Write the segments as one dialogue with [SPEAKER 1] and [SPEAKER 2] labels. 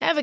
[SPEAKER 1] Ever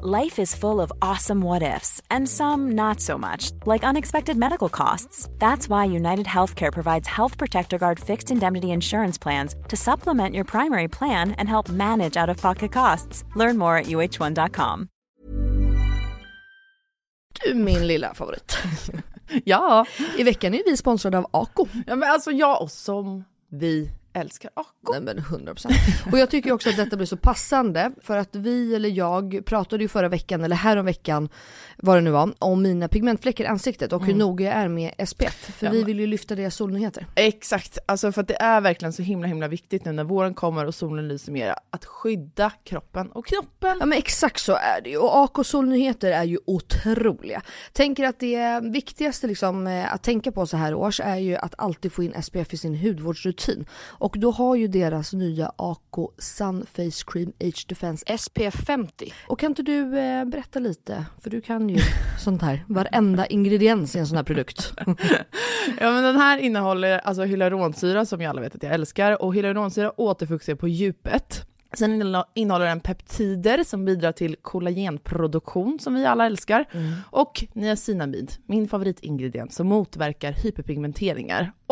[SPEAKER 2] Life is full of awesome what ifs, and some not so much, like unexpected medical costs. That's why United Healthcare provides Health Protector Guard fixed indemnity insurance plans to supplement your primary plan and help manage out of pocket costs. Learn more at uh1.com.
[SPEAKER 3] Du min lilla favorit.
[SPEAKER 4] Ja,
[SPEAKER 3] I veckan är vi sponsrade av Ako.
[SPEAKER 4] ja men alltså jag och som vi älskar Ako.
[SPEAKER 3] Nej men 100%. Och jag tycker också att detta blir så passande för att vi eller jag pratade ju förra veckan eller häromveckan vad det nu var om mina pigmentfläckar i ansiktet och hur noga jag är med SPF.
[SPEAKER 4] Mm.
[SPEAKER 3] För
[SPEAKER 4] Ja,
[SPEAKER 3] vi
[SPEAKER 4] men-
[SPEAKER 3] vill ju lyfta deras solnyheter.
[SPEAKER 4] Exakt, alltså för att det är verkligen så himla himla viktigt nu när våren kommer och solen lyser mer att skydda kroppen och knoppen.
[SPEAKER 3] Ja men exakt så är det ju och AK Solnyheter är ju otroliga. Tänker att det viktigaste liksom eh, att tänka på så här års är ju att alltid få in SPF i sin hudvårdsrutin. Och då har ju deras nya AK Sun Face Cream Age Defense SPF 50. Och kan inte du eh, berätta lite, för du kan ju sånt här, varenda ingrediens i en sån här produkt.
[SPEAKER 4] Ja men den här innehåller alltså hyaluronsyra som jag alla vet att jag älskar och hyaluronsyra återfuktar på djupet. Sen innehåll- innehåller den peptider som bidrar till kollagenproduktion som vi alla älskar. Och niacinamid, min favoritingrediens som motverkar hyperpigmenteringar.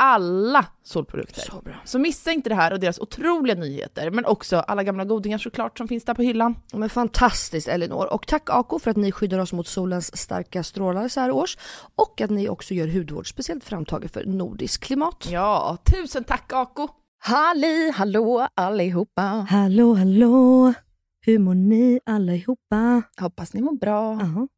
[SPEAKER 4] Alla solprodukter. Så bra. Så missa inte det här och deras otroliga nyheter, men också alla gamla godingar såklart som finns där på hyllan.
[SPEAKER 3] Men fantastiskt Elinor. Och tack Ako för att ni skyddar oss mot solens starka strålar så här års. Och att ni också gör hudvård speciellt framtagen för nordiskt klimat.
[SPEAKER 4] Ja, tusen tack Ako!
[SPEAKER 5] Halli hallå allihopa!
[SPEAKER 6] Hallå, hallå! Hur mår ni allihopa?
[SPEAKER 5] Hoppas ni mår bra.
[SPEAKER 6] Aha.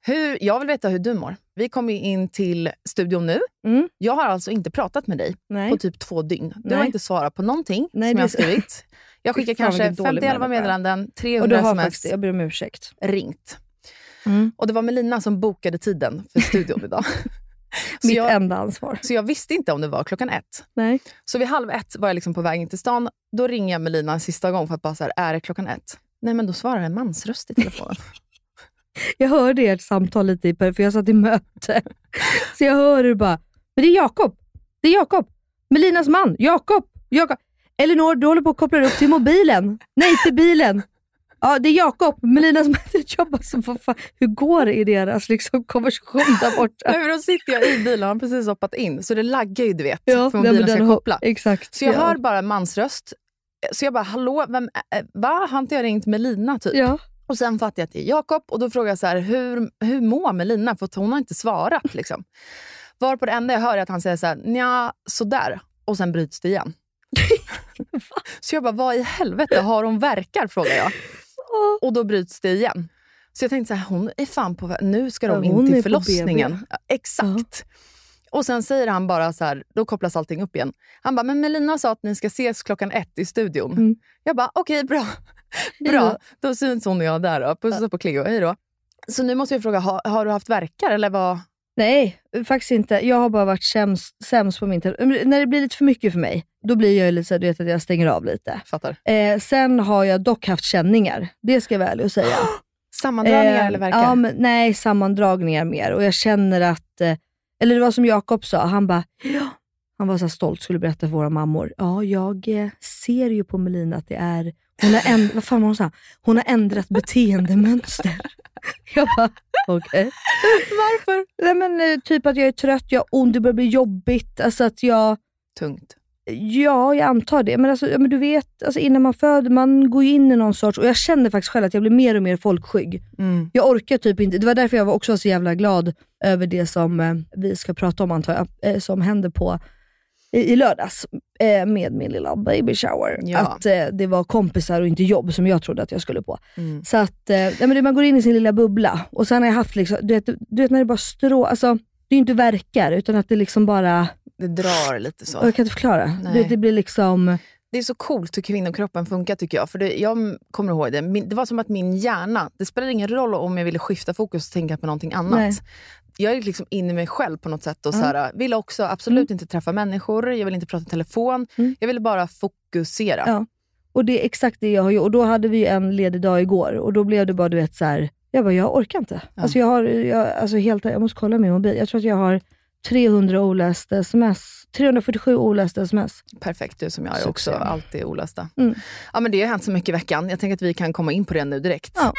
[SPEAKER 5] Hur, jag vill veta hur du mår. Vi kom ju in till studion nu.
[SPEAKER 6] Mm.
[SPEAKER 5] Jag har alltså inte pratat med dig
[SPEAKER 6] Nej.
[SPEAKER 5] på typ två dygn. Du har
[SPEAKER 6] Nej.
[SPEAKER 5] inte svarat på någonting
[SPEAKER 6] Nej,
[SPEAKER 5] som
[SPEAKER 6] det
[SPEAKER 5] jag
[SPEAKER 6] är
[SPEAKER 5] har
[SPEAKER 6] så-
[SPEAKER 5] skrivit. Jag skickar
[SPEAKER 6] Fy fan,
[SPEAKER 5] kanske
[SPEAKER 6] vilken dålig
[SPEAKER 5] 50
[SPEAKER 6] människa.
[SPEAKER 5] 11 meddelanden,
[SPEAKER 6] Och du
[SPEAKER 5] 300
[SPEAKER 6] har
[SPEAKER 5] sms,
[SPEAKER 6] faktiskt, jag ber om ursäkt.
[SPEAKER 5] ringt.
[SPEAKER 6] Mm.
[SPEAKER 5] Och det var Melina som bokade tiden för studion idag. så,
[SPEAKER 6] Mitt
[SPEAKER 5] jag,
[SPEAKER 6] enda ansvar.
[SPEAKER 5] så jag visste inte om det var klockan ett.
[SPEAKER 6] Nej.
[SPEAKER 5] Så vid halv ett var jag liksom på väg in till stan. Då ringer jag Melina en sista gång för att bara så här, är det klockan ett? Nej, men då svarar en mansröst i telefonen.
[SPEAKER 6] Jag hörde ert samtal lite, i per- för jag satt i möte. Så jag hör hur bara, men det är Jakob. Det är Jakob. Melinas man. Jakob. Jakob. Elinor, du håller på att koppla upp till mobilen. Nej, till bilen. Ja, det är Jakob. Melinas man. Jag bara, så, vad fan, hur går det i deras liksom, konversation där borta?
[SPEAKER 5] Nej, men då sitter jag i bilen och har precis hoppat in, så det laggar ju du vet,
[SPEAKER 6] Ja,
[SPEAKER 5] för
[SPEAKER 6] nej, men
[SPEAKER 5] mobilen ska
[SPEAKER 6] den har-
[SPEAKER 5] koppla.
[SPEAKER 6] Exakt.
[SPEAKER 5] Så jag
[SPEAKER 6] ja.
[SPEAKER 5] hör bara en mansröst. Så jag bara, hallå, vem, äh, va? Har inte jag ringt Melina typ?
[SPEAKER 6] Ja.
[SPEAKER 5] Och sen fattar jag att det är Jakob och då frågar jag så här, hur, hur mår Melina? För att hon har inte svarat. Liksom. Varpå det enda jag hör är att han säger så här, nja, sådär. Och sen bryts det igen. så jag bara, vad i helvete har hon verkar? frågar jag. Och då bryts det igen. Så jag tänkte så här, hon är fan på vä- Nu ska
[SPEAKER 6] Ja,
[SPEAKER 5] de in
[SPEAKER 6] hon
[SPEAKER 5] till
[SPEAKER 6] är på BB.
[SPEAKER 5] förlossningen. Ja, Exakt. Och sen säger han bara så här, då kopplas allting upp igen. Han bara, men Melina sa att ni ska ses klockan ett i studion.
[SPEAKER 6] Mm.
[SPEAKER 5] Jag bara, okej bra. Bra, då syns hon och jag där. då. Puss och på Cleo, hej då. Så nu måste jag fråga, har, har du haft verkar eller vad?
[SPEAKER 6] Nej, eh, faktiskt inte. Jag har bara varit sämst, sämst på min telefon. När det blir lite för mycket för mig, då blir jag ju lite så här, du vet att jag stänger av lite.
[SPEAKER 5] Fattar.
[SPEAKER 6] Eh, sen har jag dock haft känningar, det ska jag vara ärlig och säga.
[SPEAKER 5] Sammandragningar
[SPEAKER 3] Eh,
[SPEAKER 5] eller verkar?
[SPEAKER 3] Ja, men, nej, sammandragningar mer. Och jag känner att, eh, eller det var som Jakob sa, han bara, ja. han var så här stolt, skulle berätta för våra mammor. Ja, jag eh, ser ju på Melina att det är, hon har, änd- vad fan var hon sa? Hon har ändrat beteendemönster. Jag bara, okej.
[SPEAKER 5] Varför?
[SPEAKER 3] Nej men eh, typ att jag är trött, jag har ont, det börjar bli jobbigt. Alltså att jag,
[SPEAKER 5] Tungt.
[SPEAKER 3] ja, jag antar det. Men, alltså, ja, men du vet, alltså innan man föder, man går ju in i någon sorts, och jag känner faktiskt själv att jag blir mer och mer folkskygg.
[SPEAKER 5] Mm.
[SPEAKER 3] Jag orkar typ inte. Det var därför jag var också så jävla glad över det som eh, vi ska prata om antar jag, eh, som hände på i, i lördags eh, med min lilla baby shower.
[SPEAKER 5] Ja.
[SPEAKER 3] Att eh, det var kompisar och inte jobb som jag trodde att jag skulle på.
[SPEAKER 5] Mm.
[SPEAKER 3] Så att eh, nej, men det- man går in i sin lilla bubbla och sen har jag haft, liksom, du, vet, du vet när det bara strå, alltså det är ju inte verkar utan att det liksom bara,
[SPEAKER 5] Det drar lite så.
[SPEAKER 3] och jag kan inte förklara.
[SPEAKER 5] Nej.
[SPEAKER 3] Du vet, det blir liksom,
[SPEAKER 5] Det är så coolt hur kvinnokroppen funkar tycker jag. För det, jag kommer ihåg det. Min, det var som att min hjärna, det spelade ingen roll om jag ville skifta fokus och tänka på någonting annat.
[SPEAKER 3] Nej.
[SPEAKER 5] Jag är liksom inne i mig själv på något sätt och
[SPEAKER 3] Ja.
[SPEAKER 5] så här, ville också absolut inte träffa människor, jag ville inte prata i telefon.
[SPEAKER 3] Mm.
[SPEAKER 5] Jag ville bara fokusera.
[SPEAKER 3] Ja. och det är exakt det jag har gjort. Och då hade vi ju en ledig dag igår och då blev det bara du vet så här, jag bara jag orkar inte.
[SPEAKER 5] Ja.
[SPEAKER 3] Alltså jag har, jag, alltså helt, jag måste kolla min mobil. Jag tror att jag har 300 olästa sms, 347 olästa sms.
[SPEAKER 5] Perfekt, du som jag är
[SPEAKER 3] Succé.
[SPEAKER 5] också, alltid olösta.
[SPEAKER 3] Mm.
[SPEAKER 5] Ja, men det har hänt så mycket i veckan. Jag tänker att vi kan komma in på det nu direkt.
[SPEAKER 3] Ja.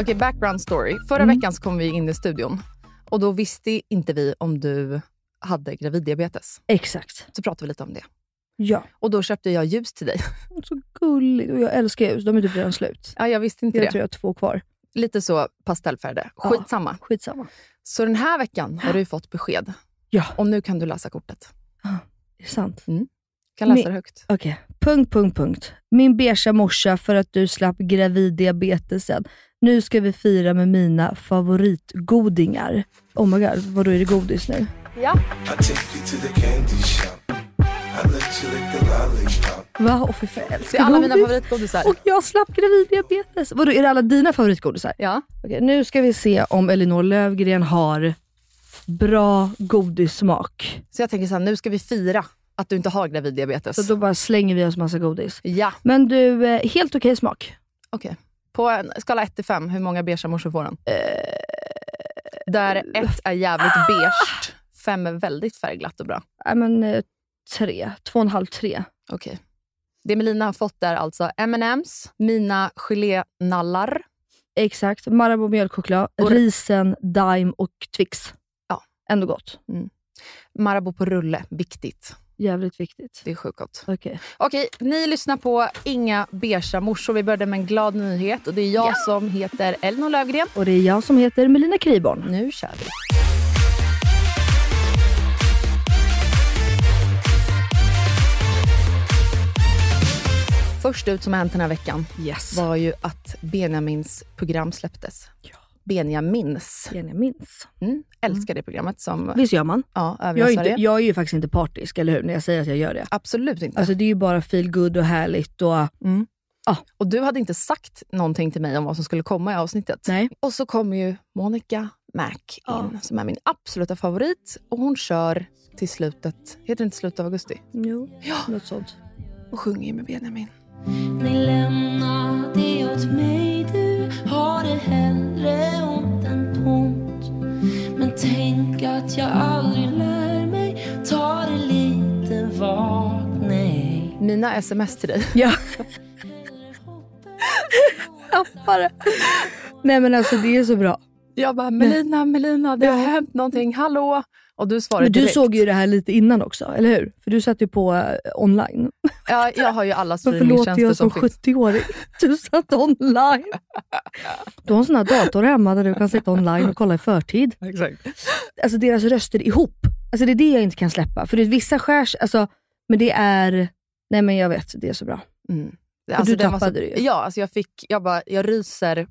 [SPEAKER 5] Okej, background story. Förra
[SPEAKER 3] Mm.
[SPEAKER 5] veckan så kom vi in i studion och då visste inte vi om du hade graviddiabetes.
[SPEAKER 3] Exakt.
[SPEAKER 5] Så pratade vi lite om det.
[SPEAKER 3] Ja.
[SPEAKER 5] Och då köpte jag ljus till dig.
[SPEAKER 3] Så gulligt. Och jag älskar ljus, de är typ redan slut.
[SPEAKER 5] Ja, jag visste inte
[SPEAKER 3] Jag
[SPEAKER 5] det.
[SPEAKER 3] tror jag har två kvar.
[SPEAKER 5] Lite så pastellfärgade.
[SPEAKER 3] Ja.
[SPEAKER 5] Skitsamma.
[SPEAKER 3] Skitsamma.
[SPEAKER 5] Så den här veckan har du ju fått besked.
[SPEAKER 3] Ja.
[SPEAKER 5] Och nu kan du läsa kortet.
[SPEAKER 3] Är det sant?
[SPEAKER 5] Du kan läsa
[SPEAKER 3] Men-
[SPEAKER 5] det högt.
[SPEAKER 3] Okej. Punkt, punkt, punkt. Min beiga morsa för att du slapp graviddiabetesen. Nu ska vi fira med mina favoritgodingar. Oh my god, vadå är det godis nu?
[SPEAKER 7] I take you to the candy shop. I let you lick the lollipop.
[SPEAKER 3] Va? Åh fy fan, jag
[SPEAKER 5] Det
[SPEAKER 3] älskar
[SPEAKER 5] är alla mina
[SPEAKER 3] godis.
[SPEAKER 5] favoritgodisar.
[SPEAKER 3] Och jag slapp graviddiabetes. Vadå, är det alla dina favoritgodisar?
[SPEAKER 5] Ja.
[SPEAKER 3] Okej, nu ska vi se om Elinor Lövgren har bra godissmak.
[SPEAKER 5] Så jag tänker så här, nu ska vi fira att du inte har graviddiabetes.
[SPEAKER 3] Så då bara slänger vi oss massa godis.
[SPEAKER 5] Ja,
[SPEAKER 3] Men du, eh, helt okej smak.
[SPEAKER 5] okej. På en skala 1 till 5, hur många beiga morsor får den? Eh, Där 1 är jävligt beige, 5 är väldigt färgglatt och bra.
[SPEAKER 3] Nej men eh, tre. Två och en halv, tre.
[SPEAKER 5] Okej. Det Melina har fått är alltså M&M's, mina gelénallar.
[SPEAKER 3] Exakt. Marabou mjölkchoklad,
[SPEAKER 5] Och-
[SPEAKER 3] risen, Daim och Twix.
[SPEAKER 5] Ja.
[SPEAKER 3] Ändå gott.
[SPEAKER 5] Marabou på rulle, viktigt.
[SPEAKER 3] Jävligt viktigt.
[SPEAKER 5] Det är sjukt gott.
[SPEAKER 3] Okej.
[SPEAKER 5] Okej, ni lyssnar på Inga beiga morsor. Vi började med en glad nyhet och det är jag som heter Elinor Lövgren.
[SPEAKER 3] Och det är jag som heter Melina Kriborn.
[SPEAKER 5] Nu kör vi. Först ut som har hänt den här veckan
[SPEAKER 3] Yes.
[SPEAKER 5] var ju att Benjamins program släpptes. Benjamins.
[SPEAKER 3] Vad jag minns.
[SPEAKER 5] Mm, älskar det programmet som
[SPEAKER 3] Visst gör man?
[SPEAKER 5] ja, övriga
[SPEAKER 3] Jag är,
[SPEAKER 5] Sverige.
[SPEAKER 3] inte, jag är ju faktiskt inte partisk, eller hur? När jag säger att jag gör det.
[SPEAKER 5] Absolut inte.
[SPEAKER 3] Alltså det är ju bara feel good och härligt och...
[SPEAKER 5] och du hade inte sagt någonting till mig om vad som skulle komma i avsnittet.
[SPEAKER 3] Nej.
[SPEAKER 5] Och så kommer ju Monica Mac in,
[SPEAKER 3] Ja.
[SPEAKER 5] som är min absoluta favorit. Och hon kör till slutet, heter det inte slutet av augusti?
[SPEAKER 3] Jo,
[SPEAKER 5] Ja.
[SPEAKER 3] något sånt.
[SPEAKER 5] Och sjunger ju med Benjamin.
[SPEAKER 8] Ni lämnar det åt mig du har det hellre ont än ont Men tänk att jag aldrig lär mig ta det lite vagt, nej
[SPEAKER 5] Mina sms till dig.
[SPEAKER 3] Ja. Tappar det. Nej men alltså det är så bra.
[SPEAKER 5] Jag bara, Melina, Melina, det har hänt någonting, hallå? Och du svarade
[SPEAKER 3] Men du
[SPEAKER 5] direkt.
[SPEAKER 3] såg ju det här lite innan också, eller hur? För du satt ju på eh, online.
[SPEAKER 5] Ja, jag har ju alla
[SPEAKER 3] Varför låter
[SPEAKER 5] streamingtjänster
[SPEAKER 3] jag som
[SPEAKER 5] som finns.
[SPEAKER 3] 70-åring? Du satt online. Du har en sån här dator hemma där du kan sitta online och kolla i förtid.
[SPEAKER 5] Exakt.
[SPEAKER 3] Alltså deras röster ihop. Alltså det är det jag inte kan släppa. För det är vissa skärs, alltså, men det är... Nej men jag vet, det är så bra.
[SPEAKER 5] Mm.
[SPEAKER 3] du
[SPEAKER 5] den var så-
[SPEAKER 3] tappade det ju.
[SPEAKER 5] Ja, alltså jag fick, jag bara, jag ryser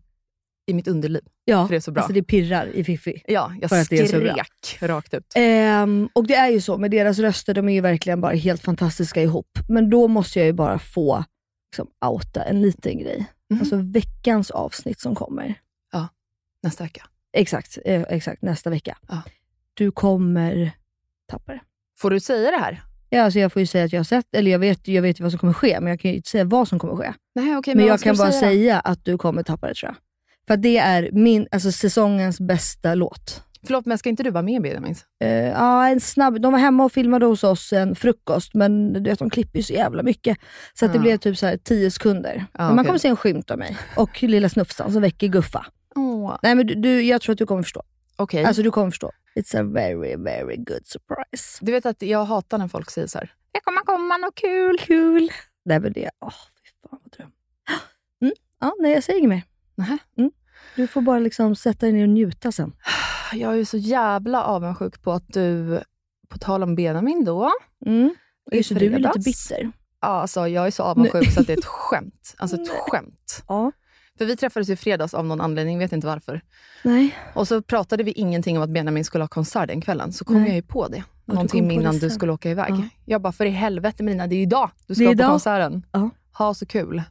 [SPEAKER 5] i mitt underliv.
[SPEAKER 3] Ja,
[SPEAKER 5] För det är så bra.
[SPEAKER 3] Alltså det pirrar i Fifi.
[SPEAKER 5] Ja, jag
[SPEAKER 3] För att det är så bra.
[SPEAKER 5] skrek rakt ut.
[SPEAKER 3] Ehm, och det är ju så, med deras röster, de är ju verkligen bara helt fantastiska ihop. Men då måste jag ju bara få liksom, outa en liten grej.
[SPEAKER 5] Mhm.
[SPEAKER 3] Alltså veckans avsnitt som kommer.
[SPEAKER 5] Nästa vecka.
[SPEAKER 3] Exakt, eh, exakt nästa vecka.
[SPEAKER 5] Ja.
[SPEAKER 3] Du kommer tappa det.
[SPEAKER 5] Får du säga det här?
[SPEAKER 3] Ja, alltså jag får ju säga att jag har sett, eller jag vet, jag vet ju vad som kommer ske, men jag kan ju inte säga vad som kommer ske.
[SPEAKER 5] Nej, okej, men
[SPEAKER 3] men
[SPEAKER 5] vad
[SPEAKER 3] jag
[SPEAKER 5] ska
[SPEAKER 3] kan
[SPEAKER 5] du
[SPEAKER 3] bara
[SPEAKER 5] säga?
[SPEAKER 3] säga? att du kommer tappa det tror jag. För att det är min, alltså säsongens bästa låt.
[SPEAKER 5] Förlåt, men ska inte du vara med Benjamin?
[SPEAKER 3] Eh, ja, en snabb, de var hemma och filmade hos oss en frukost, men du vet, de klipper ju så jävla mycket. Så att det
[SPEAKER 5] Ja.
[SPEAKER 3] blev typ så här 10 sekunder. men man
[SPEAKER 5] okej.
[SPEAKER 3] kommer se en skymt av mig och lilla Snufsan som väcker Guffa. Nej, men du, du, jag tror att du kommer förstå.
[SPEAKER 5] Okej.
[SPEAKER 3] Alltså du kommer förstå. It's a very, very good surprise.
[SPEAKER 5] Du vet att jag hatar när folk säger så här.
[SPEAKER 3] Det kommer komma något kul. Kul. Nej, men det, åh, fy fan vad dröm. Mm, ja, nej, jag säger inget mer.
[SPEAKER 5] Nähä.
[SPEAKER 3] Mm. Du får bara liksom sätta dig ner och njuta sen.
[SPEAKER 5] Jag är ju så jävla avundsjuk på att du, på tal om Benjamin då.
[SPEAKER 3] Mm.
[SPEAKER 5] i
[SPEAKER 3] Just det, du är lite
[SPEAKER 5] fredags-
[SPEAKER 3] bitter.
[SPEAKER 5] Ja, alltså jag är så avundsjuk
[SPEAKER 3] Nej.
[SPEAKER 5] så att det är ett skämt. Alltså ett skämt.
[SPEAKER 3] Ja.
[SPEAKER 5] För vi träffades ju i fredags av någon anledning, vet inte varför.
[SPEAKER 3] Nej.
[SPEAKER 5] Och så pratade vi ingenting om att Benjamin skulle ha konsert den kvällen, så kom
[SPEAKER 3] Nej.
[SPEAKER 5] jag ju på det.
[SPEAKER 3] du
[SPEAKER 5] Någon
[SPEAKER 3] kom på
[SPEAKER 5] timme
[SPEAKER 3] det
[SPEAKER 5] innan du
[SPEAKER 3] sen.
[SPEAKER 5] skulle åka iväg.
[SPEAKER 3] Ja.
[SPEAKER 5] Jag bara, för i helvete Melina, det är ju idag du ska
[SPEAKER 3] Det är
[SPEAKER 5] på
[SPEAKER 3] idag.
[SPEAKER 5] konserten.
[SPEAKER 3] Ja.
[SPEAKER 5] Ha så kul.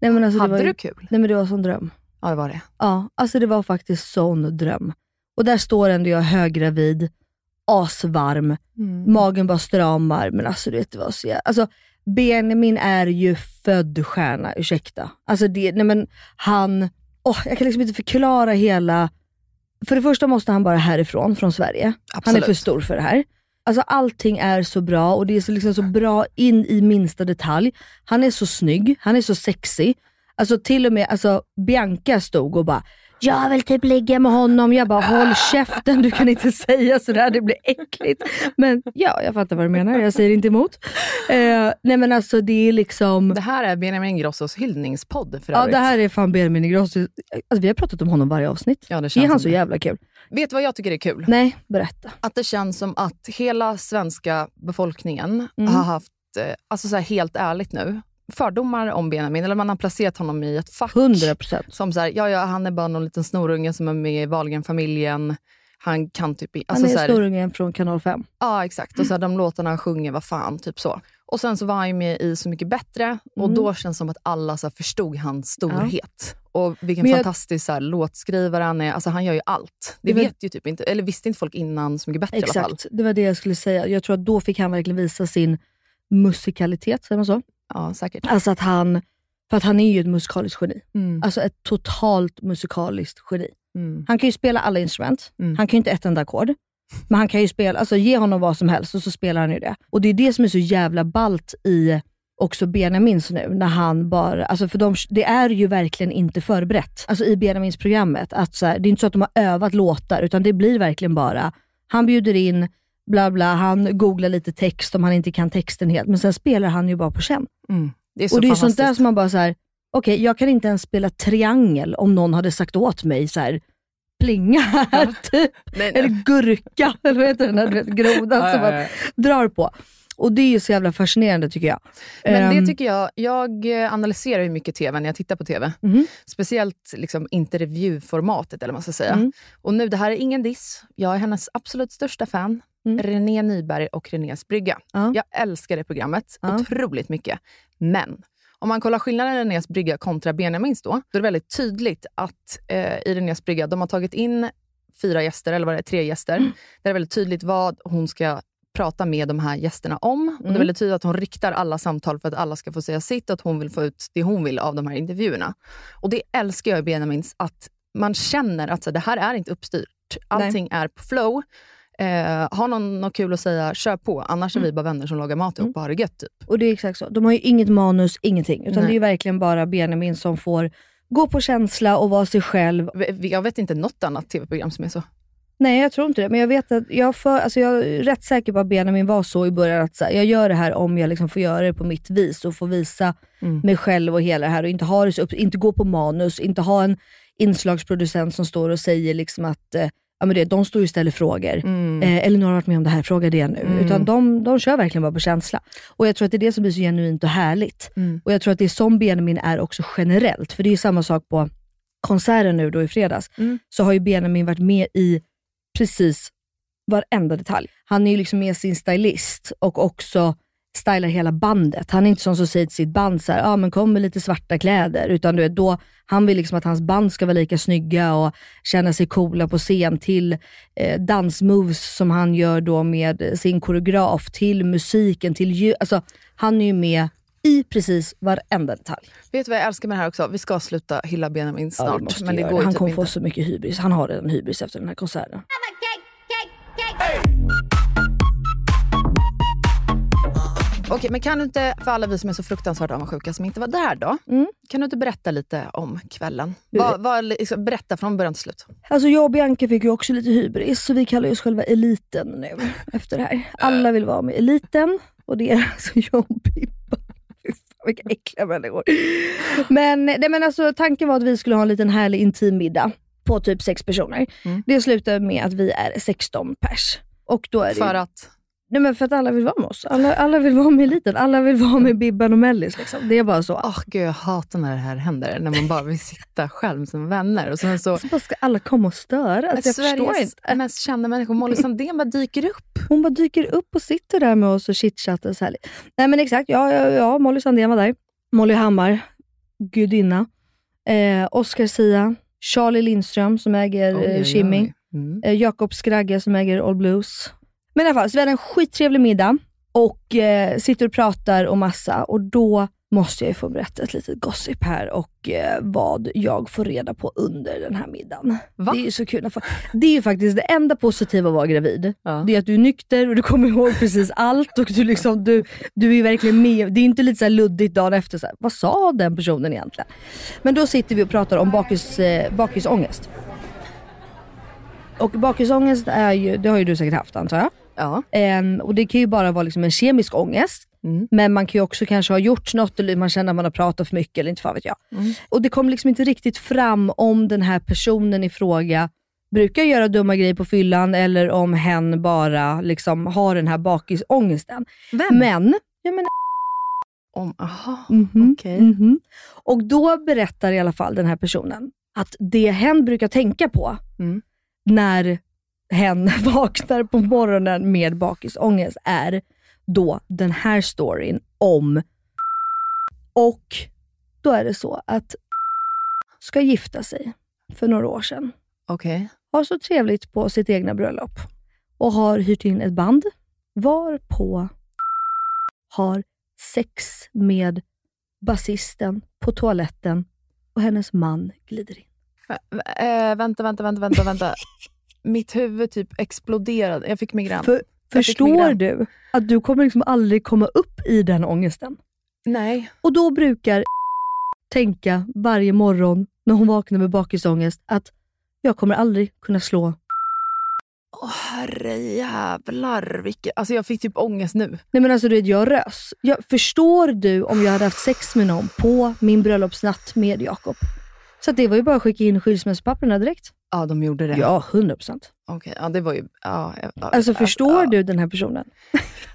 [SPEAKER 3] Nej, men alltså, det
[SPEAKER 5] Hade
[SPEAKER 3] var, ju-
[SPEAKER 5] du kul?
[SPEAKER 3] Nej, men det var en sån dröm.
[SPEAKER 5] Ja, det var det.
[SPEAKER 3] Ja, alltså det var faktiskt sån dröm. Och där står ändå jag höggravid, asvarm, magen bara stramar. Men alltså du vet, det var så jä- alltså, Benjamin är ju född stjärna, ursäkta. Alltså det, nej men han, åh, jag kan liksom inte förklara hela... För det första måste han bara härifrån, från Sverige. Han är
[SPEAKER 5] Absolut.
[SPEAKER 3] för stor för det här. Alltså allting är så bra och det är så, liksom så bra in i minsta detalj. Han är så snygg, han är så sexig. Alltså till och med alltså, Bianca stod och bara, jag vill typ ligga med honom. Jag bara, håll käften, du kan inte säga sådär, det blir äckligt. Men ja, jag fattar vad du menar, jag säger inte emot. Eh, nej men alltså det är liksom,
[SPEAKER 5] Det här är Benjamin Ingrossos hyllningspodd för
[SPEAKER 3] ja,
[SPEAKER 5] övrigt.
[SPEAKER 3] det här är fan Benjamin Ingrosso. Alltså, vi har pratat om honom varje avsnitt.
[SPEAKER 5] Ja, det känns
[SPEAKER 3] är han
[SPEAKER 5] som
[SPEAKER 3] så
[SPEAKER 5] det.
[SPEAKER 3] jävla kul?
[SPEAKER 5] Vet du vad jag tycker är kul?
[SPEAKER 3] Nej, berätta.
[SPEAKER 5] Att det känns som att hela svenska befolkningen
[SPEAKER 3] Mm.
[SPEAKER 5] har haft, eh, alltså så här helt ärligt nu, fördomar om Benjamin. Eller man har placerat honom i ett fack.
[SPEAKER 3] 100%.
[SPEAKER 5] Som så här, ja, ja, han är bara någon liten snorunge som är med i Wahlgren-familjen. Han kan typ... i- Alltså
[SPEAKER 3] han
[SPEAKER 5] så
[SPEAKER 3] är
[SPEAKER 5] här,
[SPEAKER 3] snorungen från kanal 5.
[SPEAKER 5] Ja, exakt. Och så här, de låtarna han sjunger, vad fan, typ så. Och sen så var han ju med i Så mycket bättre och
[SPEAKER 3] Mm.
[SPEAKER 5] då känns det som att alla så här, förstod hans storhet. Och vilken
[SPEAKER 3] Men jag-
[SPEAKER 5] fantastisk så här, låtskrivare han är. Alltså han gör ju allt. Det
[SPEAKER 3] Det var-
[SPEAKER 5] vet ju typ inte, eller visste inte folk innan Så mycket bättre i alla fall.
[SPEAKER 3] Exakt, det var det jag skulle säga. Jag tror att då fick han verkligen visa sin musikalitet, säger man så?
[SPEAKER 5] Ja, säkert.
[SPEAKER 3] Alltså att han, för att han är ju ett musikaliskt geni.
[SPEAKER 5] Mm.
[SPEAKER 3] Alltså ett totalt musikaliskt geni.
[SPEAKER 5] Mm.
[SPEAKER 3] Han kan ju spela alla instrument,
[SPEAKER 5] Mm.
[SPEAKER 3] han kan ju inte ett enda ackord. Men han kan ju spela, alltså ge honom vad som helst och så spelar han ju det. Och det är det som är så jävla balt i också Benjamins nu, när han bara, alltså för de, det är ju verkligen inte förberett. Alltså i Benjamins programmet, att så här, det är inte så att de har övat låtar, utan det blir verkligen bara, han bjuder in, bla bla, han googlar lite text om han inte kan texten helt, men sen spelar han ju bara på känn.
[SPEAKER 5] Mm. Det är så
[SPEAKER 3] Och det är ju sånt
[SPEAKER 5] fantastiskt.
[SPEAKER 3] där som man bara så här, okej jag kan inte ens spela triangel om någon hade sagt åt mig så här, plinga här typ.
[SPEAKER 5] Nej, nej.
[SPEAKER 3] Eller gurka, eller vad heter den där du vet, grodan
[SPEAKER 5] Ja,
[SPEAKER 3] som
[SPEAKER 5] ja,
[SPEAKER 3] man
[SPEAKER 5] ja.
[SPEAKER 3] drar på. Och det är ju så jävla fascinerande tycker jag.
[SPEAKER 5] Men
[SPEAKER 3] Ehm,
[SPEAKER 5] det tycker jag, jag eh, analyserar ju mycket tv när jag tittar på tv.
[SPEAKER 3] Mhm.
[SPEAKER 5] Speciellt liksom intervjuformatet eller vad man ska säga.
[SPEAKER 3] Mm.
[SPEAKER 5] Och nu, det här är ingen diss. Jag är hennes absolut största fan.
[SPEAKER 3] Mm.
[SPEAKER 5] René Nyberg och Renés brygga.
[SPEAKER 3] Ja.
[SPEAKER 5] Jag älskar det programmet
[SPEAKER 3] Ja.
[SPEAKER 5] otroligt mycket. Men om man kollar skillnaden i Renés brygga kontra Benjamins då, då är det väldigt tydligt att eh, i Renés brygga, de har tagit in fyra gäster, eller vad det är, tre gäster. Där det är väldigt tydligt vad hon ska prata med de här gästerna om. Och det är
[SPEAKER 3] Mm.
[SPEAKER 5] väldigt tydligt att hon riktar alla samtal för att alla ska få säga sitt och att hon vill få ut det hon vill av de här intervjuerna. Och det älskar jag i Benjamins, att man känner att så, här, det här är inte uppstyrt. Allting är på flow. Eh, har någon något kul att säga, kör på. Annars är vi bara vänner som lagar mat ihop och har det gött. Typ.
[SPEAKER 3] Och det är exakt så. De har ju inget manus, ingenting. Utan
[SPEAKER 5] Nej.
[SPEAKER 3] det är ju verkligen bara Benjamin som får gå på känsla och vara sig själv
[SPEAKER 5] Vi- Jag vet inte något annat tv-program som är så.
[SPEAKER 3] Nej, jag tror inte det. Men jag vet att jag, för, alltså jag är rätt säker på att Benjamin var så i början att så här, jag gör det här om jag liksom får göra det på mitt vis och får visa mig själv och hela det här och inte, ha det så upp, inte gå på manus, inte ha en inslagsproducent som står och säger liksom att eh, ja, men det, de står ju och ställer frågor. Eh, eller några har varit med om det här, fråga det nu. Utan de, de kör verkligen bara på känsla. Och jag tror att det är det som blir så genuint och härligt. Och jag tror att det är som Benjamin är också generellt. För det är ju samma sak på konserten nu då i fredags, så har ju Benjamin varit med i precis varenda detalj. Han är ju liksom med sin stylist och också stylar hela bandet. Han är inte sån som säger till sitt band så här, ah, men kom med lite svarta kläder. Utan du vet, då, han vill liksom att hans band ska vara lika snygga och känna sig coola på scen till eh, dansmoves som han gör då med sin koreograf, till musiken, till ljud. Alltså, han är ju med i precis varenda detalj.
[SPEAKER 5] Vet du vad jag älskar med det här också? Vi ska sluta hylla Benjamin
[SPEAKER 3] Ja, vi
[SPEAKER 5] snart.
[SPEAKER 3] måste
[SPEAKER 5] men det
[SPEAKER 3] göra
[SPEAKER 5] går ju
[SPEAKER 3] han
[SPEAKER 5] typ
[SPEAKER 3] kommer
[SPEAKER 5] inte.
[SPEAKER 3] få så mycket hybris. Han har redan hybris efter den här konserten.
[SPEAKER 5] Okej, men kan du inte, för alla vi som är så fruktansvärt avundsjuka som inte var där då. Kan du inte berätta lite om kvällen?
[SPEAKER 3] Mm. Hur-
[SPEAKER 5] Vad- vad- liksom, berätta från början till slut.
[SPEAKER 3] Alltså jag och Bianca fick ju också lite hybris, så vi kallar oss själva eliten nu efter det här. Alla vill vara med i eliten och det är alltså jag och Pippa. Fy fan, Vilka äckliga människor. Men, nej, men alltså, tanken var att vi skulle ha en liten härlig intim middag på typ sex personer. Det slutade med att vi är 16 pers. Och då är det
[SPEAKER 5] För att?
[SPEAKER 3] Nej, men för att alla vill vara med oss. Alla, alla vill vara med eliten. Alla vill vara med Bibban och Mellis. Liksom. Det är bara så.
[SPEAKER 5] Oh, gud, jag hatar när det här händer. När man bara vill sitta själv med sina vänner. Och sen så,
[SPEAKER 3] Varför ska alla komma och störa? Alltså, jag förstår inte.
[SPEAKER 5] mest kända människor, Molly Sandén, bara dyker upp.
[SPEAKER 3] Hon bara dyker upp och sitter där med oss och chitchattar så här. Nej men exakt, ja, ja, ja Molly Sandén var där. Molly Hammar, gudinna. Eh, Oscar Sia, Charlie Lindström som äger
[SPEAKER 5] Oj, oj,
[SPEAKER 3] eh,
[SPEAKER 5] oj.
[SPEAKER 3] Shimmy.
[SPEAKER 5] Mm.
[SPEAKER 3] Eh, Jakob Skragge som äger All Blues. Men i alla fall, så vi hade en skittrevlig middag och eh, sitter och pratar och massa och då måste jag ju få berätta ett litet gossip här och eh, vad jag får reda på under den här middagen.
[SPEAKER 5] Va?
[SPEAKER 3] Det är ju så kul. att få- Det är ju faktiskt det enda positiva att vara gravid.
[SPEAKER 5] Ja.
[SPEAKER 3] Det är att du är nykter och du kommer ihåg precis allt och du, liksom, du, du är ju verkligen med. Det är inte lite så här luddigt dagen efter, så här, vad sa den personen egentligen? Men då sitter vi och pratar om bakis, eh, bakisångest. Och bakisångest är ju, det har ju du säkert haft antar jag.
[SPEAKER 5] Ja. Mm.
[SPEAKER 3] Ehm, och det kan ju bara vara liksom en kemisk ångest. Men man kan ju också kanske ha gjort något eller man känner att man har pratat för mycket eller inte fan vet jag.
[SPEAKER 5] Mm.
[SPEAKER 3] Och det kom liksom inte riktigt fram om den här personen i fråga brukar göra dumma grejer på fyllan eller om hen bara liksom har den här bakisångesten.
[SPEAKER 5] Vem?
[SPEAKER 3] Men, jag menar
[SPEAKER 5] Om, aha,
[SPEAKER 3] Mhm,
[SPEAKER 5] okej.
[SPEAKER 3] mhm. Och då berättar i alla fall den här personen att det hen brukar tänka på
[SPEAKER 5] Mm.
[SPEAKER 3] när hen vaknar på morgonen med bakisångest är då den här storyn om och då är det så att ska gifta sig för några år sedan.
[SPEAKER 5] Okej.
[SPEAKER 3] Har så trevligt på sitt egna bröllop och har hyrt in ett band varpå har sex med basisten på toaletten och hennes man glider in.
[SPEAKER 5] Eh, vänta, vänta, vänta, vänta, vänta. Mitt huvud typ exploderade. Jag fick migrän.
[SPEAKER 3] För,
[SPEAKER 5] Jag fick migrän.
[SPEAKER 3] förstår du att du kommer liksom aldrig komma upp i den ångesten?
[SPEAKER 5] Nej.
[SPEAKER 3] Och då brukar tänka varje morgon när hon vaknar med bakisångest att jag kommer aldrig kunna slå.
[SPEAKER 5] Åh, herrejävlar. Vilket... Alltså, jag fick typ ångest nu.
[SPEAKER 3] Nej men alltså du vet, jag rös. Jag, förstår du om jag hade haft sex med någon på min bröllopsnatt med Jakob? Så att det var ju bara att skicka in skilsmässopapperna direkt.
[SPEAKER 5] Ja, de gjorde det.
[SPEAKER 3] Ja, 100%.
[SPEAKER 5] Okej, ja, det var ju... Ja, ja, ja,
[SPEAKER 3] Alltså
[SPEAKER 5] ja,
[SPEAKER 3] förstår
[SPEAKER 5] ja.
[SPEAKER 3] du den här personen?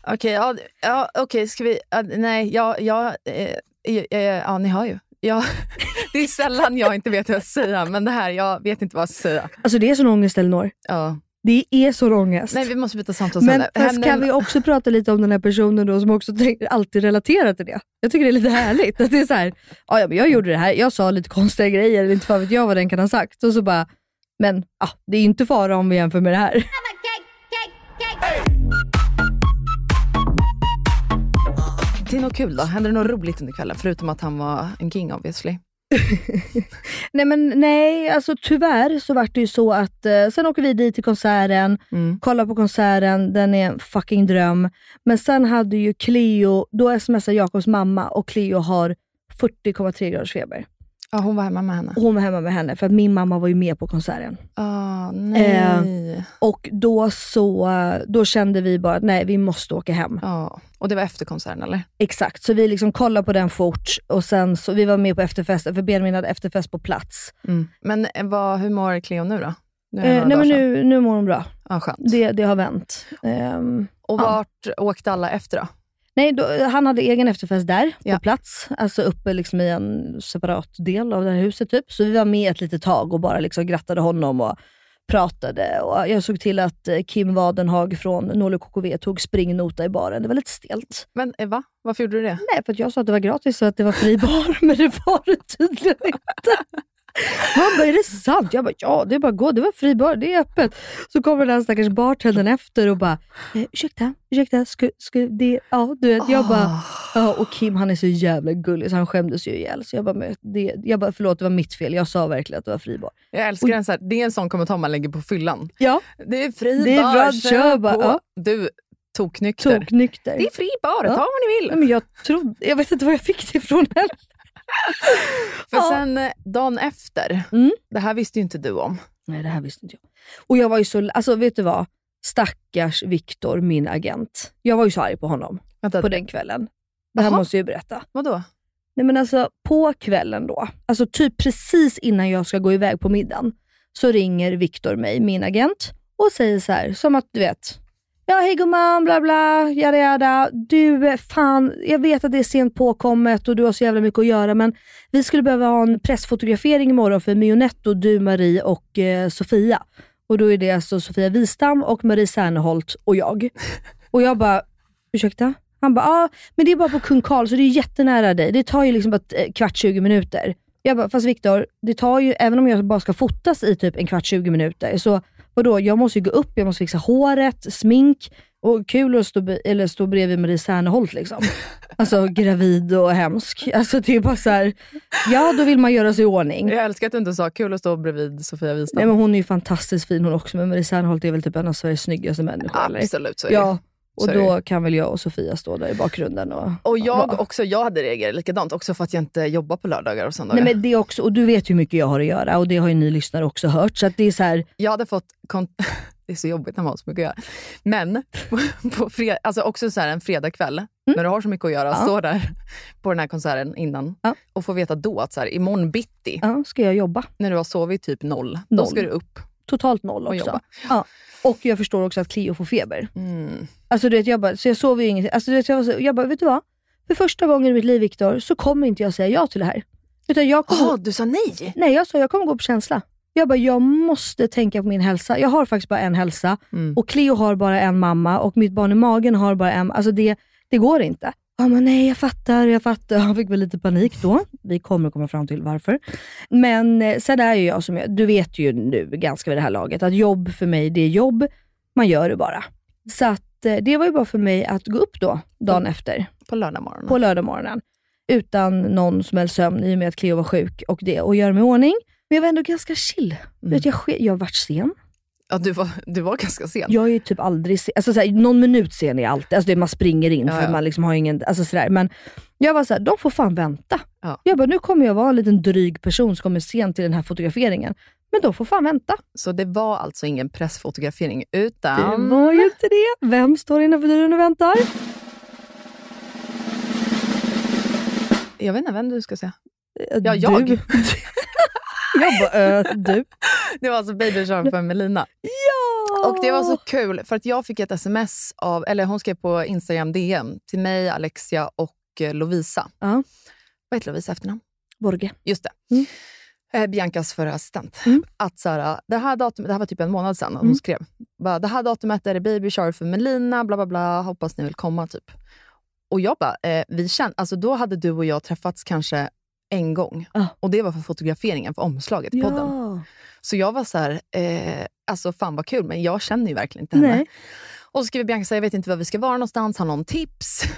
[SPEAKER 5] Okej, ja, det- ja, okej, ska vi... ja, nej, jag... Ja, eh, eh, eh, ja, ni hör ju. Ja, det är sällan jag inte vet vad jag ska säga, men det här, jag vet inte vad jag ska säga.
[SPEAKER 3] Alltså det är sån ångest Elinor.
[SPEAKER 5] Ja.
[SPEAKER 3] Det är sån ångest.
[SPEAKER 5] Nej, vi måste byta
[SPEAKER 3] Men
[SPEAKER 5] samtalsämne.
[SPEAKER 3] fast
[SPEAKER 5] Händer-
[SPEAKER 3] kan vi också prata lite om den här personen då som också tänk- alltid relaterar till det? Jag tycker det är lite härligt. Att det är så här, "Ja, ja, men jag gjorde det här, jag sa lite konstiga grejer, eller inte fan vet jag vad den kan ha sagt. Och så bara, men ah, det är inte fara om vi jämför med det här.
[SPEAKER 5] Till något kul då? Hände det något roligt under kvällen? Förutom att han var en king obviously.
[SPEAKER 3] Nej men nej, alltså tyvärr så vart det ju så att eh, sen åker vi dit till konserten, kollar på konserten, den är en fucking dröm. Men sen hade ju Cleo, då smsar Jakobs mamma och Cleo har 40,3 graders feber.
[SPEAKER 5] Ja, hon var hemma med henne.
[SPEAKER 3] Hon var hemma med henne för att min mamma var ju med på konserten.
[SPEAKER 5] Ah, nej.
[SPEAKER 3] Och då så eh, då kände vi bara att nej, vi måste åka hem.
[SPEAKER 5] Ja. Och det var efter konserten eller?
[SPEAKER 3] Exakt, så vi liksom kollade på den fort och sen så vi var med på efterfesten, för Benjamin hade efterfest på plats.
[SPEAKER 5] Men eh, vad, hur mår Cleo nu då? Nu är det
[SPEAKER 3] Mm. Eh,
[SPEAKER 5] några
[SPEAKER 3] nej men
[SPEAKER 5] dagar sedan.
[SPEAKER 3] nu, nu mår hon bra.
[SPEAKER 5] Ja, skönt.
[SPEAKER 3] Det, det har vänt. Ehm,
[SPEAKER 5] Och
[SPEAKER 3] ja.
[SPEAKER 5] vart åkte alla efter då?
[SPEAKER 3] Nej, då, han hade egen efterfest där,
[SPEAKER 5] Ja.
[SPEAKER 3] på plats. Alltså uppe liksom i en separat del av det här huset. Typ. Så vi var med ett litet tag och bara liksom grattade honom och pratade och jag såg till att eh, Kim Wadenhag från Nolo KKV tog springnota i baren. Det var lite stelt.
[SPEAKER 5] Men eh, va? Varför gjorde du det?
[SPEAKER 3] Nej, för att jag sa att det var gratis och att det var fri bar, men det var det tydligen inte. Han bara, är det sant? Jag bara, ja det är bara att gå, det var fri bar, det är öppet. Så kommer den här stackars bartendern efter och bara, eh, ursäkta, ursäkta, sku, sku, det, ja du vet. Jag bara,
[SPEAKER 5] Ah.
[SPEAKER 3] ja och Kim han är så jävla gullig så han skämdes ju ihjäl. Så jag bara, men det, jag bara, förlåt det var mitt fel, jag sa verkligen att det var fri bar.
[SPEAKER 5] Jag älskar den så här, det är en sån kommentar man lägger på fyllan.
[SPEAKER 3] Ja.
[SPEAKER 5] Det är fri
[SPEAKER 3] Det är
[SPEAKER 5] bar,
[SPEAKER 3] bra,
[SPEAKER 5] kör
[SPEAKER 3] kör bara,
[SPEAKER 5] på.
[SPEAKER 3] ja.
[SPEAKER 5] Du, toknykter.
[SPEAKER 3] Toknykter.
[SPEAKER 5] Det är fri bar, ta vad ni vill.
[SPEAKER 3] Nej, men jag, trodde, jag vet inte var jag fick det ifrån heller.
[SPEAKER 5] För sen eh, dagen efter,
[SPEAKER 3] Mm.
[SPEAKER 5] det här visste ju inte du om.
[SPEAKER 3] Nej, det här visste inte jag. Och jag var ju så, alltså vet du vad? Stackars Viktor, min agent. Jag var ju så arg på honom på den kvällen. Det här
[SPEAKER 5] Jaha.
[SPEAKER 3] måste jag ju berätta.
[SPEAKER 5] Vadå?
[SPEAKER 3] Nej men alltså på kvällen då, alltså typ precis innan jag ska gå iväg på middagen, så ringer Viktor mig, min agent, och säger så här, som att du vet, ja hej gumman, bla bla, jada jada. Du, eh, fan, jag vet att det är sent påkommet och du har så jävla mycket att göra, men vi skulle behöva ha en pressfotografering imorgon för Mionetto, du, Marie och eh, Sofia. Och då är det alltså Sofia Wistam och Marie Serneholt och jag. Och jag bara, ursäkta? Han bara, ja men det är bara på Kung Karl så det är jättenära dig. Det tar ju liksom bara ett, eh, kvart, 20 minuter. Jag bara, fast Viktor, det tar ju, även om jag bara ska fotas i typ en kvart, 20 minuter, så vadå, jag måste ju gå upp, jag måste fixa håret, smink och kul att stå, be- eller stå bredvid Marie Serneholt liksom. Alltså gravid och hemsk. Alltså det är bara så här, ja då vill man göra sig i ordning.
[SPEAKER 5] Jag älskar att du inte sa kul att stå bredvid Sofia Wistam.
[SPEAKER 3] Nej, men hon är ju fantastiskt fin hon också, men Marie Serneholt är väl typ en av Sveriges snyggaste människor? eller?
[SPEAKER 5] Absolut, så är det.
[SPEAKER 3] Ja, och
[SPEAKER 5] Så är
[SPEAKER 3] då
[SPEAKER 5] det.
[SPEAKER 3] kan väl jag och Sofia stå där i bakgrunden. Och,
[SPEAKER 5] Och jag också, jag hade reagerat likadant, också för att jag inte jobbar på lördagar och söndagar.
[SPEAKER 3] Nej, men det också, och du vet ju hur mycket jag har att göra och det har ju ni lyssnare också hört. Så att det är så här,
[SPEAKER 5] Jag hade fått... Kon- det är så jobbigt när man har så mycket att göra. Men på- på fred- alltså också så här en fredagkväll, när du har så mycket att göra,
[SPEAKER 3] Mm. Ja.
[SPEAKER 5] står där på den här konserten innan och får veta då att så här, imorgon bitti,
[SPEAKER 3] ja, ska jag jobba?
[SPEAKER 5] när du har sovit typ noll, då
[SPEAKER 3] Noll.
[SPEAKER 5] ska du upp.
[SPEAKER 3] Totalt noll
[SPEAKER 5] Och
[SPEAKER 3] också.
[SPEAKER 5] jobba.
[SPEAKER 3] Ja. Och jag förstår också att Cleo får feber.
[SPEAKER 5] Mm.
[SPEAKER 3] Alltså du vet, jag bara, så jag sover ju ingenting. Alltså, du vet, jag, var så, jag bara, vet du vad? För första gången i mitt liv Viktor, så kommer inte jag säga ja till det här. Utan jag kommer,
[SPEAKER 5] Jaha, Ah, du sa nej?
[SPEAKER 3] Nej, jag sa jag kommer gå på känsla. Jag bara, jag måste tänka på min hälsa. Jag har faktiskt bara en hälsa och Cleo har bara en mamma och mitt barn i magen har bara en. Alltså det, det går inte. Han bara, nej jag fattar, jag fattar. Han fick väl lite panik då. Vi kommer komma fram till varför. Men eh, sen är ju jag som jag, du vet ju nu ganska vid det här laget, att jobb för mig det är jobb. Man gör det bara. Så att, eh, det var ju bara för mig att gå upp då, dagen efter
[SPEAKER 5] På lördag morgon.
[SPEAKER 3] på lördagmorgonen utan någon som helst sömn i och med att Cleo var sjuk och det och göra mig i ordning. Men jag var ändå ganska chill. Du
[SPEAKER 5] Mm.
[SPEAKER 3] Vet, jag, ske- jag har varit sen.
[SPEAKER 5] Ja, du var, du var ganska sen.
[SPEAKER 3] Jag är ju typ aldrig sen. Alltså, såhär, någon minut sen är jag alltid. Alltså, det, man springer in
[SPEAKER 5] Ja,
[SPEAKER 3] för
[SPEAKER 5] ja.
[SPEAKER 3] man liksom har ingen... Alltså, sådär. Men jag var såhär, de får fan vänta.
[SPEAKER 5] Ja.
[SPEAKER 3] Jag bara, nu kommer jag vara en liten dryg person som kommer sent till den här fotograferingen. Men de får fan vänta.
[SPEAKER 5] Så det var alltså ingen pressfotografering,
[SPEAKER 3] Det
[SPEAKER 5] utan...
[SPEAKER 3] var ju inte det. Vem står innanför dörren och väntar?
[SPEAKER 5] Jag vet inte vem du ska säga.
[SPEAKER 3] Eh,
[SPEAKER 5] Ja,
[SPEAKER 3] du.
[SPEAKER 5] jag.
[SPEAKER 3] jag bara, eh, du.
[SPEAKER 5] Det var alltså baby shower för Melina.
[SPEAKER 3] Ja!
[SPEAKER 5] Och det var så kul, för att jag fick ett sms av, eller hon skrev på Instagram DM till mig, Alexia och eh, Lovisa.
[SPEAKER 3] Ja.
[SPEAKER 5] Vad heter Lovisa efternamn?
[SPEAKER 3] Borge.
[SPEAKER 5] Just det.
[SPEAKER 3] Mm.
[SPEAKER 5] Eh, Biancas förra assistent.
[SPEAKER 3] Mm.
[SPEAKER 5] Att så här, det, här datum, det här var typ en månad sedan hon
[SPEAKER 3] Mm.
[SPEAKER 5] skrev. Bara, det här datumet är det baby shower för Melina, bla bla bla, hoppas ni vill komma. typ. Och jag bara, eh, vi kände, alltså då hade du och jag träffats kanske en gång.
[SPEAKER 3] Ah.
[SPEAKER 5] Och det var för fotograferingen, för omslaget,
[SPEAKER 3] Ja.
[SPEAKER 5] podden. Så jag var så här, eh, alltså fan vad kul, men jag känner ju verkligen inte henne.
[SPEAKER 3] Nej.
[SPEAKER 5] Och så skriver Bianca, så här, jag vet inte var vi ska vara någonstans, har någon tips?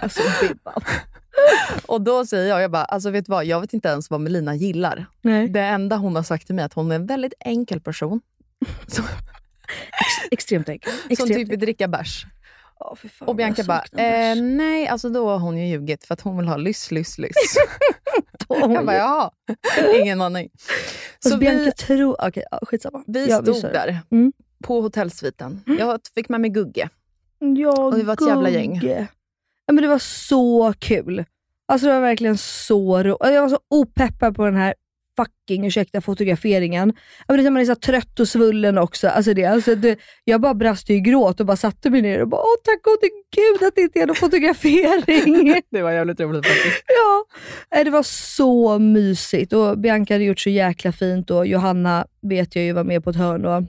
[SPEAKER 3] Alltså Bibban.
[SPEAKER 5] Och då säger jag, jag bara, alltså vet du vad, jag vet inte ens vad Melina gillar.
[SPEAKER 3] Nej.
[SPEAKER 5] Det enda hon har sagt till mig är att hon är en väldigt enkel person,
[SPEAKER 3] Extremt enkel.
[SPEAKER 5] som
[SPEAKER 3] Extremt
[SPEAKER 5] typ vill dricka bärs.
[SPEAKER 3] Ja, fy fan,
[SPEAKER 5] Och Bianca
[SPEAKER 3] jag
[SPEAKER 5] bara,
[SPEAKER 3] saknar bärs.
[SPEAKER 5] eh, nej, alltså då har hon ju ljugit för att hon vill ha lyss, lyss, lyss.
[SPEAKER 3] Oj.
[SPEAKER 5] jag bara, jaha, ingen aning.
[SPEAKER 3] Fast
[SPEAKER 5] Så
[SPEAKER 3] Bianca
[SPEAKER 5] vi,
[SPEAKER 3] tror... Okej, ja, skitsamma.
[SPEAKER 5] vi
[SPEAKER 3] Ja,
[SPEAKER 5] stod
[SPEAKER 3] kör.
[SPEAKER 5] där
[SPEAKER 3] Mm.
[SPEAKER 5] på hotellsviten. Jag fick med mig Gugge.
[SPEAKER 3] Ja,
[SPEAKER 5] Och vi var ett jävla gäng.
[SPEAKER 3] Gugge. Ja, men det Alltså, var så kul. Alltså det var verkligen så roligt. Jag var så opeppad på den här fucking, ursäkta fotograferingen. Jag vet, inte, man är så här trött och svullen också. Alltså det, alltså det, jag bara brast ju i gråt och bara satte mig ner och bara, åh tack gode gud att det inte är någon fotografering.
[SPEAKER 4] det var jävligt roligt faktiskt.
[SPEAKER 3] Ja, Nej, det var så mysigt. Och Bianca hade gjort så jäkla fint och Johanna vet jag ju var med på ett hörn. Och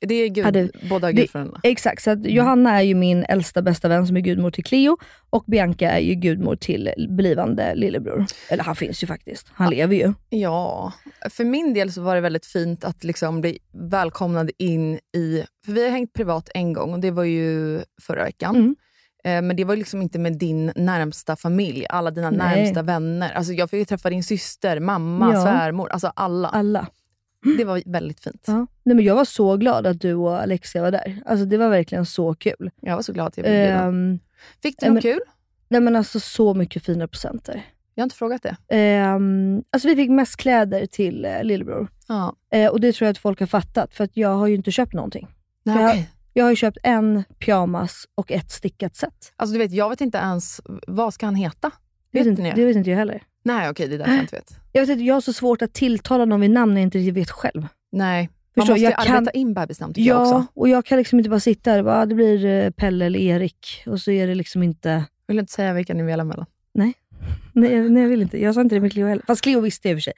[SPEAKER 4] Det är gud,
[SPEAKER 3] Hade-
[SPEAKER 4] båda
[SPEAKER 3] det-
[SPEAKER 4] gudföräldrarna.
[SPEAKER 3] Exakt, så att Johanna är ju min äldsta bästa vän som är gudmor till Cleo och Bianca är ju gudmor till blivande lillebror. Eller han finns ju faktiskt, han lever ju.
[SPEAKER 5] Ja, för min del så var det väldigt fint att liksom bli välkomnad in i... För vi har hängt privat en gång och det var ju förra veckan.
[SPEAKER 3] Mm.
[SPEAKER 5] Eh, Men det var ju liksom inte med din närmsta familj, alla dina
[SPEAKER 3] Nej.
[SPEAKER 5] närmsta vänner. Alltså jag fick ju träffa din syster, mamma,
[SPEAKER 3] Ja.
[SPEAKER 5] svärmor, alltså alla.
[SPEAKER 3] alla.
[SPEAKER 5] Det var väldigt fint.
[SPEAKER 3] Ja. Nej, men jag var så glad att du och Alexia var där. Alltså, det var verkligen så kul.
[SPEAKER 5] Jag var så glad att jag blev bjuden.
[SPEAKER 3] Ehm,
[SPEAKER 5] Fick du
[SPEAKER 3] nej,
[SPEAKER 5] något
[SPEAKER 3] men-
[SPEAKER 5] kul?
[SPEAKER 3] Nej men alltså så mycket fina presenter.
[SPEAKER 5] Jag har inte frågat det.
[SPEAKER 3] Ehm, alltså vi fick mest kläder till eh, lillebror.
[SPEAKER 5] Ja.
[SPEAKER 3] Eh, och det tror jag att folk har fattat, för att jag har ju inte köpt någonting.
[SPEAKER 5] Nej,
[SPEAKER 3] jag,
[SPEAKER 5] okej.
[SPEAKER 3] jag har ju köpt en pyjamas och ett stickat set.
[SPEAKER 5] Alltså du vet, jag vet inte ens, vad ska han heta?
[SPEAKER 3] Det vet,
[SPEAKER 5] Vet
[SPEAKER 3] inte,
[SPEAKER 5] ni?
[SPEAKER 3] det vet inte jag heller.
[SPEAKER 5] Nej, okej, det är därför jag inte vet.
[SPEAKER 3] Jag, vet inte, jag har så svårt att tilltala någon vid namn när jag inte riktigt vet själv.
[SPEAKER 5] Nej, man
[SPEAKER 3] Förstår,
[SPEAKER 5] måste ju
[SPEAKER 3] jag kan-
[SPEAKER 5] arbeta in bebisnamn tycker jag
[SPEAKER 3] Ja,
[SPEAKER 5] också.
[SPEAKER 3] och jag kan liksom inte bara sitta där och bara, ah, det blir eh, Pelle eller Erik och så är det liksom inte...
[SPEAKER 5] Vill du inte säga vilka ni velar mellan?
[SPEAKER 3] Nej. Nej, jag- nej, jag vill inte. Jag sa inte det med Cleo heller. Fast Cleo visste jag i och för sig.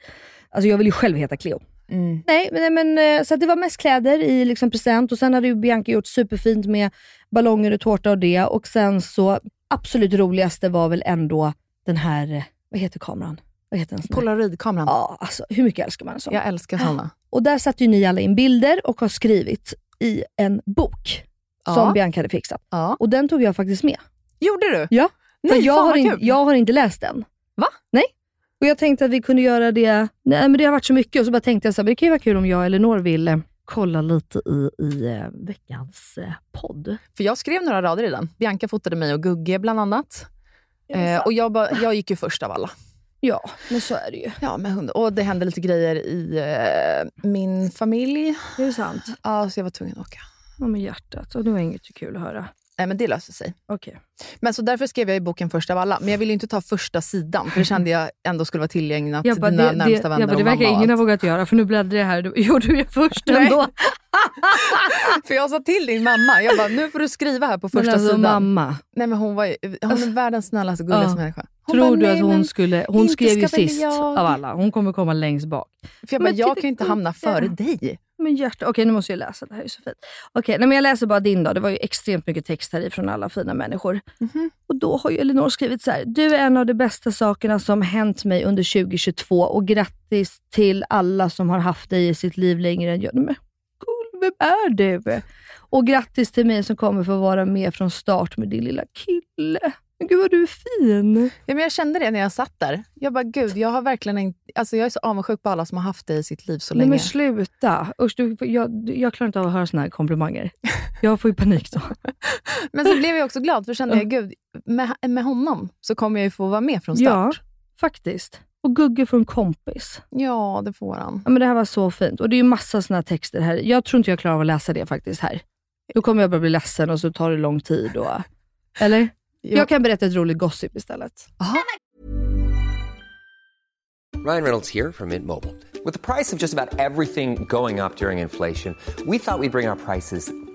[SPEAKER 3] Alltså jag vill ju själv heta Cleo.
[SPEAKER 5] Mm.
[SPEAKER 3] Nej, men, nej, men eh, så att det var mest kläder i liksom present och sen hade ju Bianca gjort superfint med ballonger och tårta och det. Och sen så, absolut roligaste var väl ändå den här, eh, vad heter kameran? Vad heter den? sån här?
[SPEAKER 5] Polaroidkameran.
[SPEAKER 3] Ja, alltså hur mycket älskar man en sån?
[SPEAKER 5] Jag älskar såna.
[SPEAKER 3] Och där satte ju ni alla in bilder och har skrivit i en bok
[SPEAKER 5] Ja.
[SPEAKER 3] som Bianca hade fixat.
[SPEAKER 5] Ja.
[SPEAKER 3] Och den tog jag faktiskt med.
[SPEAKER 5] Gjorde du?
[SPEAKER 3] Ja.
[SPEAKER 5] Nej,
[SPEAKER 3] För jag,
[SPEAKER 5] fan
[SPEAKER 3] har
[SPEAKER 5] vad
[SPEAKER 3] in,
[SPEAKER 5] kul.
[SPEAKER 3] jag har inte läst den.
[SPEAKER 5] Va?
[SPEAKER 3] Nej. Och jag tänkte att vi kunde göra det. Nej, men det har varit så mycket och så bara tänkte jag så här, men det kan ju vara kul om jag eller Nor vill eh, kolla lite i, i eh, veckans eh, podd.
[SPEAKER 5] För jag skrev några rader i den. Bianca fotade mig och Gugge bland annat. Eh, och jag, bara, jag gick ju först av alla.
[SPEAKER 3] Ja, men så är det ju.
[SPEAKER 5] Ja, med hund. Och det hände lite grejer i eh, min familj.
[SPEAKER 3] Det är sant.
[SPEAKER 5] Ja, så jag var tvungen att åka.
[SPEAKER 3] Ja, men hjärtat. Och det var inget kul att höra.
[SPEAKER 5] Nej, men det löste sig.
[SPEAKER 3] Okej.
[SPEAKER 5] Men så därför skrev jag i boken först av alla. Men jag ville ju inte ta första sidan, för det kände jag ändå skulle vara tillägnat
[SPEAKER 3] Jag bara,
[SPEAKER 5] dina
[SPEAKER 3] det, det,
[SPEAKER 5] närmsta
[SPEAKER 3] jag
[SPEAKER 5] vänner
[SPEAKER 3] bara, det
[SPEAKER 5] och
[SPEAKER 3] verkar
[SPEAKER 5] mamma och
[SPEAKER 3] ingen ha
[SPEAKER 5] allt.
[SPEAKER 3] vågat göra, för nu bläddrar jag här. Då- Jo, du är först ändå.
[SPEAKER 5] För jag sa till din mamma, jag bara, nu får du skriva här på första
[SPEAKER 3] men alltså,
[SPEAKER 5] sidan.
[SPEAKER 3] mamma.
[SPEAKER 5] Nej, men hon, var, ju- hon är världens snällaste, gulligaste
[SPEAKER 3] Ja.
[SPEAKER 5] människa.
[SPEAKER 3] Tror du
[SPEAKER 5] bara,
[SPEAKER 3] att
[SPEAKER 5] "Nej,
[SPEAKER 3] hon
[SPEAKER 5] men
[SPEAKER 3] skulle... Hon
[SPEAKER 5] inte
[SPEAKER 3] skrev ju
[SPEAKER 5] ska väl
[SPEAKER 3] sist
[SPEAKER 5] jag."
[SPEAKER 3] av alla. Hon kommer komma längst bak.
[SPEAKER 5] För jag, bara,
[SPEAKER 3] Men
[SPEAKER 5] jag
[SPEAKER 3] titta,
[SPEAKER 5] kan ju inte hamna
[SPEAKER 3] titta.
[SPEAKER 5] före dig.
[SPEAKER 3] Men hjärta, okej nu måste jag läsa, det här är så fint. Okej, nej, men jag läser bara din då. Det var ju extremt mycket text här i från alla fina människor.
[SPEAKER 5] Mhm.
[SPEAKER 3] Och då har ju Elinor skrivit så här. Du är en av de bästa sakerna som hänt mig under 2022 och grattis till alla som har haft dig i sitt liv längre än jag. Men cool, vem är du? Och grattis till mig som kommer få vara med från start med din lilla kille. Men gud vad du är fin.
[SPEAKER 5] Ja, men jag kände det när jag satt där. Jag bara, gud, jag har verkligen inte... Alltså, jag är så avundsjuk på alla som har haft dig i sitt liv så
[SPEAKER 3] Nej
[SPEAKER 5] länge.
[SPEAKER 3] men sluta. Usch, du, jag, jag klarar inte av att höra såna här komplimanger. Jag får ju panik då.
[SPEAKER 5] Men så blev jag också glad, för kände jag, gud, med, med honom så kommer jag ju få vara med från
[SPEAKER 3] Ja,
[SPEAKER 5] start.
[SPEAKER 3] faktiskt. Och Gugge från kompis.
[SPEAKER 5] Ja, ja det får han.
[SPEAKER 3] Ja, men det här var så fint. Och det är ju massa såna här texter här. Jag tror inte jag klarar av att läsa det faktiskt här. Då kommer jag bara bli ledsen och så tar det lång tid. Och... Eller?
[SPEAKER 5] Jo.
[SPEAKER 3] Jag kan berätta ett roligt gossip istället.
[SPEAKER 9] Ryan Reynolds here from Mint Mobile. With the price of just about everything going up during inflation, we thought we'd bring our prices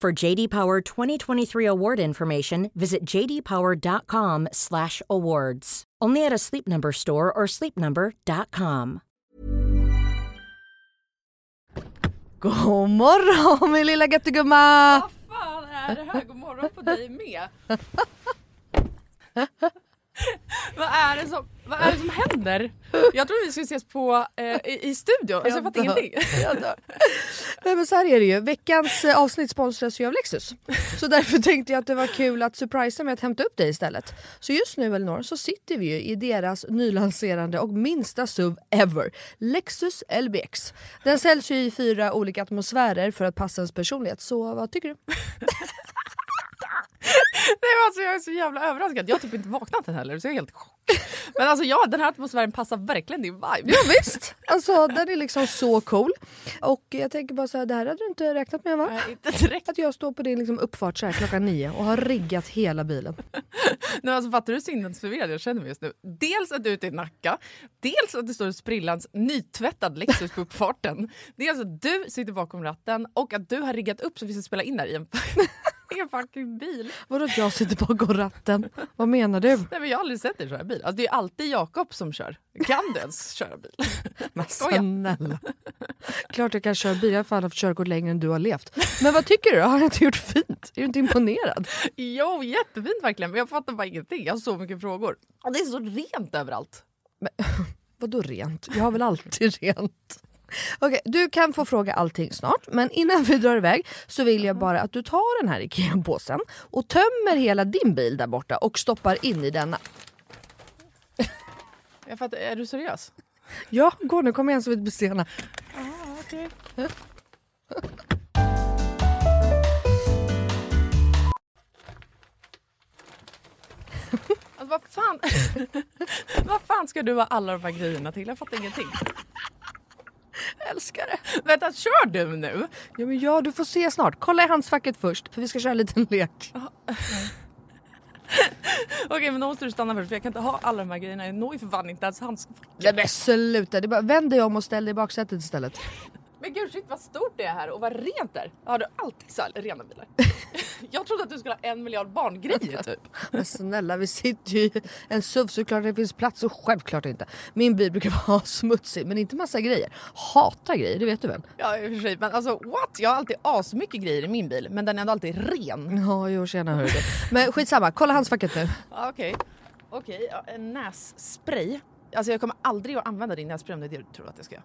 [SPEAKER 10] For JD Power 2023 award information, visit jdpower.com/awards. Only at a Sleep Number store or sleepnumber.com.
[SPEAKER 3] God morgon min lilla göttegumma!
[SPEAKER 5] fan är det här? God morgon på dig med. vad, är det som, vad är det som händer? Jag trodde vi skulle ses på, eh, i, i studion, alltså, jag
[SPEAKER 3] dör.
[SPEAKER 5] fattar ingenting.
[SPEAKER 3] Jag dör. Nej men så här är det ju, veckans eh, avsnitt sponsras ju av Lexus. Så därför tänkte jag att det var kul att surprisa med att hämta upp dig istället. Så just nu Elinor så sitter vi ju i deras nylanserande och minsta SUV ever, Lexus LBX. Den säljs ju i fyra olika atmosfärer för att passa ens personlighet, så vad tycker du?
[SPEAKER 5] Nej, men alltså, jag är så jävla överraskad. Jag har typ inte vaknat än heller så jag är helt i chock. Men alltså ja, den här atmosfären passar verkligen din vibe.
[SPEAKER 3] Ja, visst, alltså den är liksom så cool. Och jag tänker bara så här, det här hade du inte räknat med va? Nej,
[SPEAKER 5] inte direkt.
[SPEAKER 3] Att jag står på din liksom, uppfart så här klockan nio och har riggat hela bilen.
[SPEAKER 5] Nej, men alltså, fattar du hur sinnesförvirrad jag känner mig just nu? Dels att du är ute i Nacka, dels att det står en sprillans nytvättad Lexus på uppfarten. Dels att du sitter bakom ratten och att du har riggat upp så vi ska spela in där i en, i en fucking bil.
[SPEAKER 3] Vadå att jag sitter bakom ratten? Vad menar du?
[SPEAKER 5] Nej, men jag har aldrig sett dig köra bil. Alltså, det är alltid Jakob som kör. Kan du ens köra bil?
[SPEAKER 3] Men snälla. Klart jag kan köra bil, jag har fan haft körkort längre än du har levt. Men vad tycker du? Har jag inte gjort fint? Är du inte imponerad?
[SPEAKER 5] Jo, jättefint verkligen. Men jag fattar bara ingenting. Jag har så mycket frågor. Och det är så rent överallt.
[SPEAKER 3] Vadå rent? Jag har väl alltid rent? Okej, du kan få fråga allting snart, men innan vi drar iväg så vill jag bara att du tar den här IKEA-påsen och tömmer hela din bil där borta och stoppar in i denna.
[SPEAKER 5] Jag fattar, är du seriös?
[SPEAKER 3] Ja, gå nu, kom igen så vi inte blir sena.
[SPEAKER 5] Ah, okay. Alltså, vad, fan... vad fan ska du ha alla de här grejerna till? Jag fattar ingenting.
[SPEAKER 3] Jag älskar det.
[SPEAKER 5] Vänta, kör du nu?
[SPEAKER 3] Ja, men ja, du får se snart. Kolla i handskfacket först, för vi ska köra en liten lek.
[SPEAKER 5] Okej, men då måste du stanna först för jag kan inte ha alla de här grejerna. Jag når ju för fan inte ens hans...
[SPEAKER 3] Nej men sluta, det är bara, vänd dig om och ställ dig i baksätet istället.
[SPEAKER 5] Men gud shit vad stort det är här och vad rent det är. Har du alltid så här rena bilar? jag trodde att du skulle ha en miljard barngrejer typ.
[SPEAKER 3] Men snälla vi sitter ju i en SUV såklart det finns plats och självklart inte. Min bil brukar vara smutsig men inte massa grejer. Hatar grejer, det vet du väl?
[SPEAKER 5] Ja i och för sig men alltså what? Jag har alltid asmycket grejer i min bil men den är ändå alltid ren.
[SPEAKER 3] Ja, jo tjena hörru du. Men skitsamma, kolla handskfacket nu.
[SPEAKER 5] Ja, Okej, okej. ja, en nässpray. Alltså jag kommer aldrig att använda din nässpray om det är det du tror att jag ska göra.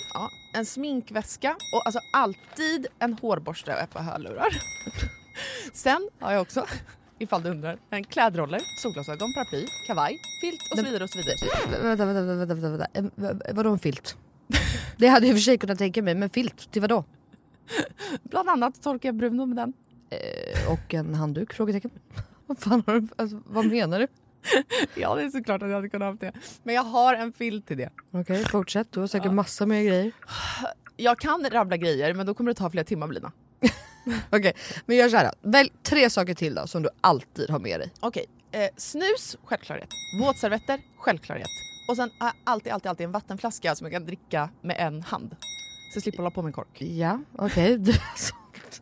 [SPEAKER 5] Ja, en sminkväska och alltså alltid en hårborste och ett par hörlurar. Sen har jag också, ifall du undrar, en klädroller, solglasögon, paraply, kavaj, filt och så vidare typ. och så vidare.
[SPEAKER 3] Vä- Vänta, vänta, vänta, vänta, vänta. Eh, va- vadå en filt? Det hade jag i och för sig kunnat tänka mig men filt till vadå?
[SPEAKER 5] Bland annat torkar jag Bruno med den.
[SPEAKER 3] Eh, och en handduk? Frågetecken. Vad fan har du, alltså, vad menar du?
[SPEAKER 5] Ja, det är såklart att jag hade kunnat ha haft det. Men jag har en filt till det.
[SPEAKER 3] Okej fortsätt, du har säkert massa mer grejer.
[SPEAKER 5] Jag kan rabbla grejer, men då kommer det ta flera timmar Blina.
[SPEAKER 3] Okej, men gör såhär då. Välj tre saker till då som du alltid har med dig.
[SPEAKER 5] Okej, eh, snus, självklarhet. Våtservetter, självklarhet. Och sen har jag alltid, alltid, alltid en vattenflaska som jag kan dricka med en hand. Så jag slipper hålla på med en kork.
[SPEAKER 3] Ja, okej. Du, är sånt.